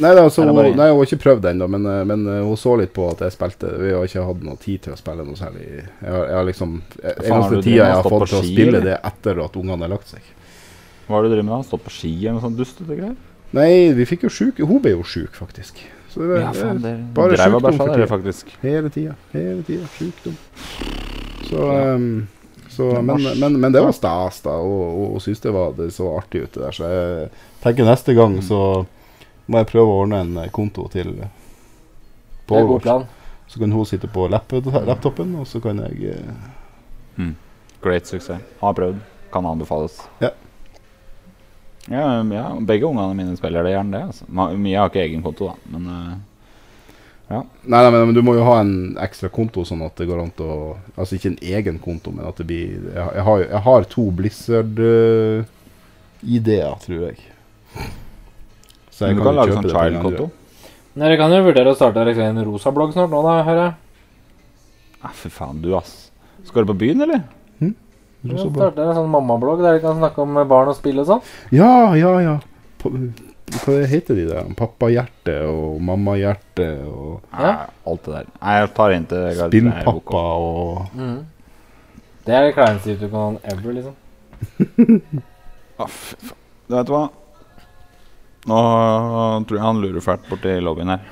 Speaker 4: Nei, da, så
Speaker 3: Er det
Speaker 4: hun,
Speaker 3: bare-
Speaker 4: nei, hun har ikke prøvd ennå, men, eh, men eh, hun så litt på at jeg spilte. Vi har ikke hatt noe tid til å spille noe særlig. Jeg har, jeg har liksom, jeg,
Speaker 3: Faen, har du
Speaker 4: Eneste
Speaker 3: drevet
Speaker 4: tida jeg
Speaker 3: og
Speaker 4: har
Speaker 3: stått
Speaker 4: fått
Speaker 3: på
Speaker 4: til å
Speaker 3: ski,
Speaker 4: spille,
Speaker 3: eller?
Speaker 4: det er etter at ungene har lagt seg.
Speaker 3: Hva er det du driver med? da? Stått på ski eller noe sånt dustete greier?
Speaker 4: Nei, vi fikk jo sjuk Hun ble jo sjuk, faktisk. Så det,
Speaker 3: Ja, faen,
Speaker 4: det
Speaker 3: dere
Speaker 4: bare
Speaker 3: dreiv
Speaker 4: sjukdom
Speaker 3: og bæsja
Speaker 4: for
Speaker 3: dere,
Speaker 4: tida.
Speaker 3: faktisk.
Speaker 4: hele tida. Hele tida. Sjukdom. Så,
Speaker 3: Ja.
Speaker 4: ehm, så
Speaker 3: Det er
Speaker 4: men,
Speaker 3: mars.
Speaker 4: men, men det var stas, da. Og og hun syntes det var det så artig ute der, så jeg tenker neste
Speaker 3: Mm.
Speaker 4: gang så må jeg prøve å ordne en eh, konto til eh,
Speaker 2: Det er god
Speaker 4: Overwatch.
Speaker 2: plan.
Speaker 4: Så kan hun sitte på lapp- laptopen, og så kan jeg eh,
Speaker 3: Great suksess. Har prøvd. Kan anbefales.
Speaker 4: Ja.
Speaker 3: Ja, um, ja, begge ungene mine spiller det gjerne, det. Altså. Ma- Mia har ikke egen konto, da. Men eh,
Speaker 4: Nei, nei, men, men du må jo ha en ekstra konto, sånn at det går an til å Altså ikke en egen konto, men at det blir Jeg, jeg, har, jo- jeg har to Blizzard-ideer, tror jeg. Så
Speaker 3: men du kan
Speaker 4: jo
Speaker 3: lage
Speaker 4: kjøpe
Speaker 3: sånn
Speaker 4: det på en gang,
Speaker 3: child-konto.
Speaker 4: tror jeg.
Speaker 2: Nei, Dere kan jo vurdere å starte liksom, en rosa blogg snart nå, da, hører jeg.
Speaker 3: Nei, fy faen, du, ass. Skal du på byen, eller?
Speaker 2: Dere
Speaker 4: Rosa
Speaker 2: kan
Speaker 4: blogg.
Speaker 2: Starte en sånn mammablogg der dere kan snakke om eh, barn og spill og sånn.
Speaker 4: Ja, ja, ja. Pa- Hva heter de der? Pappahjerte og mammahjerte og
Speaker 3: Nei, alt det der. Nei, jeg tar inn til Gard- Nei, jeg er ok.
Speaker 4: Spinnpappa og
Speaker 2: Mhm. Det er det kleineste YouTube-kanalen ever, liksom.
Speaker 3: Ah, fy faen. Du vet hva? Nå tror jeg han lurer fælt borti lobbyen her.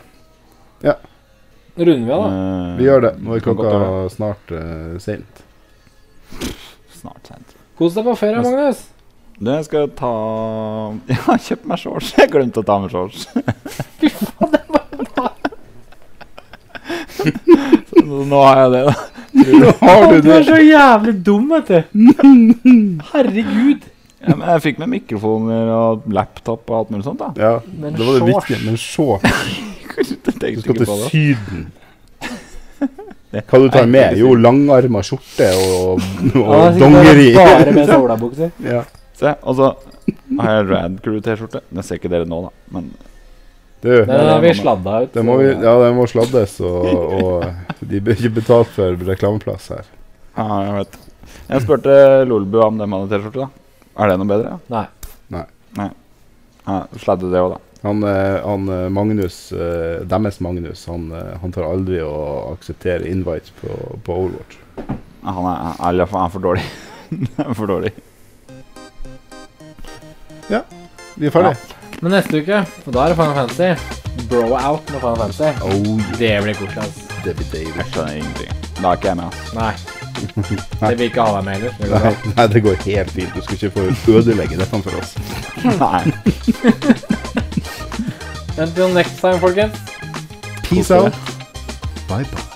Speaker 2: Runder vi av,
Speaker 4: Mm.
Speaker 2: da?
Speaker 3: Eh,
Speaker 4: Vi gjør det. Nå er
Speaker 3: kan godt gjøre
Speaker 4: klokka snart uh, seint.
Speaker 3: det. Snart sent.
Speaker 2: Kos deg på ferie,
Speaker 3: Neste-
Speaker 2: Magnus.
Speaker 3: Du, jeg skal ta Jeg har kjøpt meg shorts. Jeg glemte å ta med shorts. Så nå har jeg det, da.
Speaker 4: Nå har du det!
Speaker 2: så jævlig dum, vet du. Herregud.
Speaker 3: Ja, men jeg fikk med mikrofoner og laptop og alt mulig sånt, da.
Speaker 4: Ja,
Speaker 2: Men
Speaker 4: det var det
Speaker 2: shorts.
Speaker 4: viktige. Men shorts
Speaker 3: Jeg tenkte
Speaker 4: Du skal
Speaker 3: ikke
Speaker 4: til
Speaker 3: på det.
Speaker 4: Syden. Hva du tar med? Jo, langarma skjorte og,
Speaker 2: Ja,
Speaker 4: og
Speaker 2: sikkert
Speaker 4: dongeri.
Speaker 2: Bare med solabukser.
Speaker 4: Ja.
Speaker 3: Se, og så har jeg Rad Crew-T-skjorte. Den ser ikke dere nå, da. Men
Speaker 4: Du,
Speaker 2: Den har
Speaker 3: det
Speaker 2: vi
Speaker 3: må-
Speaker 2: sladda ut.
Speaker 4: det må vi,
Speaker 2: så-
Speaker 4: ja, det må sladdes, og, og de blir ikke betalt for reklameplass her.
Speaker 3: ja, jeg vet Jeg spurte Lolbu om dem hadde T-skjorte, da. Er det noe bedre?
Speaker 2: Nei.
Speaker 3: Ja, Sladde det òg, da.
Speaker 4: Han, eh, han eh, Magnus, eh, deres Magnus, han, eh, han tar aldri å akseptere invites på, på Overwatch.
Speaker 3: Ja, Han er, eller, han er for dårlig. Han er for dårlig.
Speaker 4: Vi er ferdige.
Speaker 2: Men neste uke, og da er det Final Fantasy. Bro out med Final Fantasy.
Speaker 4: Oh, yeah,
Speaker 2: Det blir koselig, ass.
Speaker 4: det blir deilig.
Speaker 3: Jeg skjønner ingenting. Da er ikke jeg med, ass.
Speaker 2: Nei. Det vil ikke ha deg med heller. Det går
Speaker 4: Nei,
Speaker 2: bra.
Speaker 4: nei, det går helt fint. Du skal ikke få ødelegge dette for oss.
Speaker 3: altså. Nei.
Speaker 2: Until next time, folkens.
Speaker 4: Peace out. Bye bye.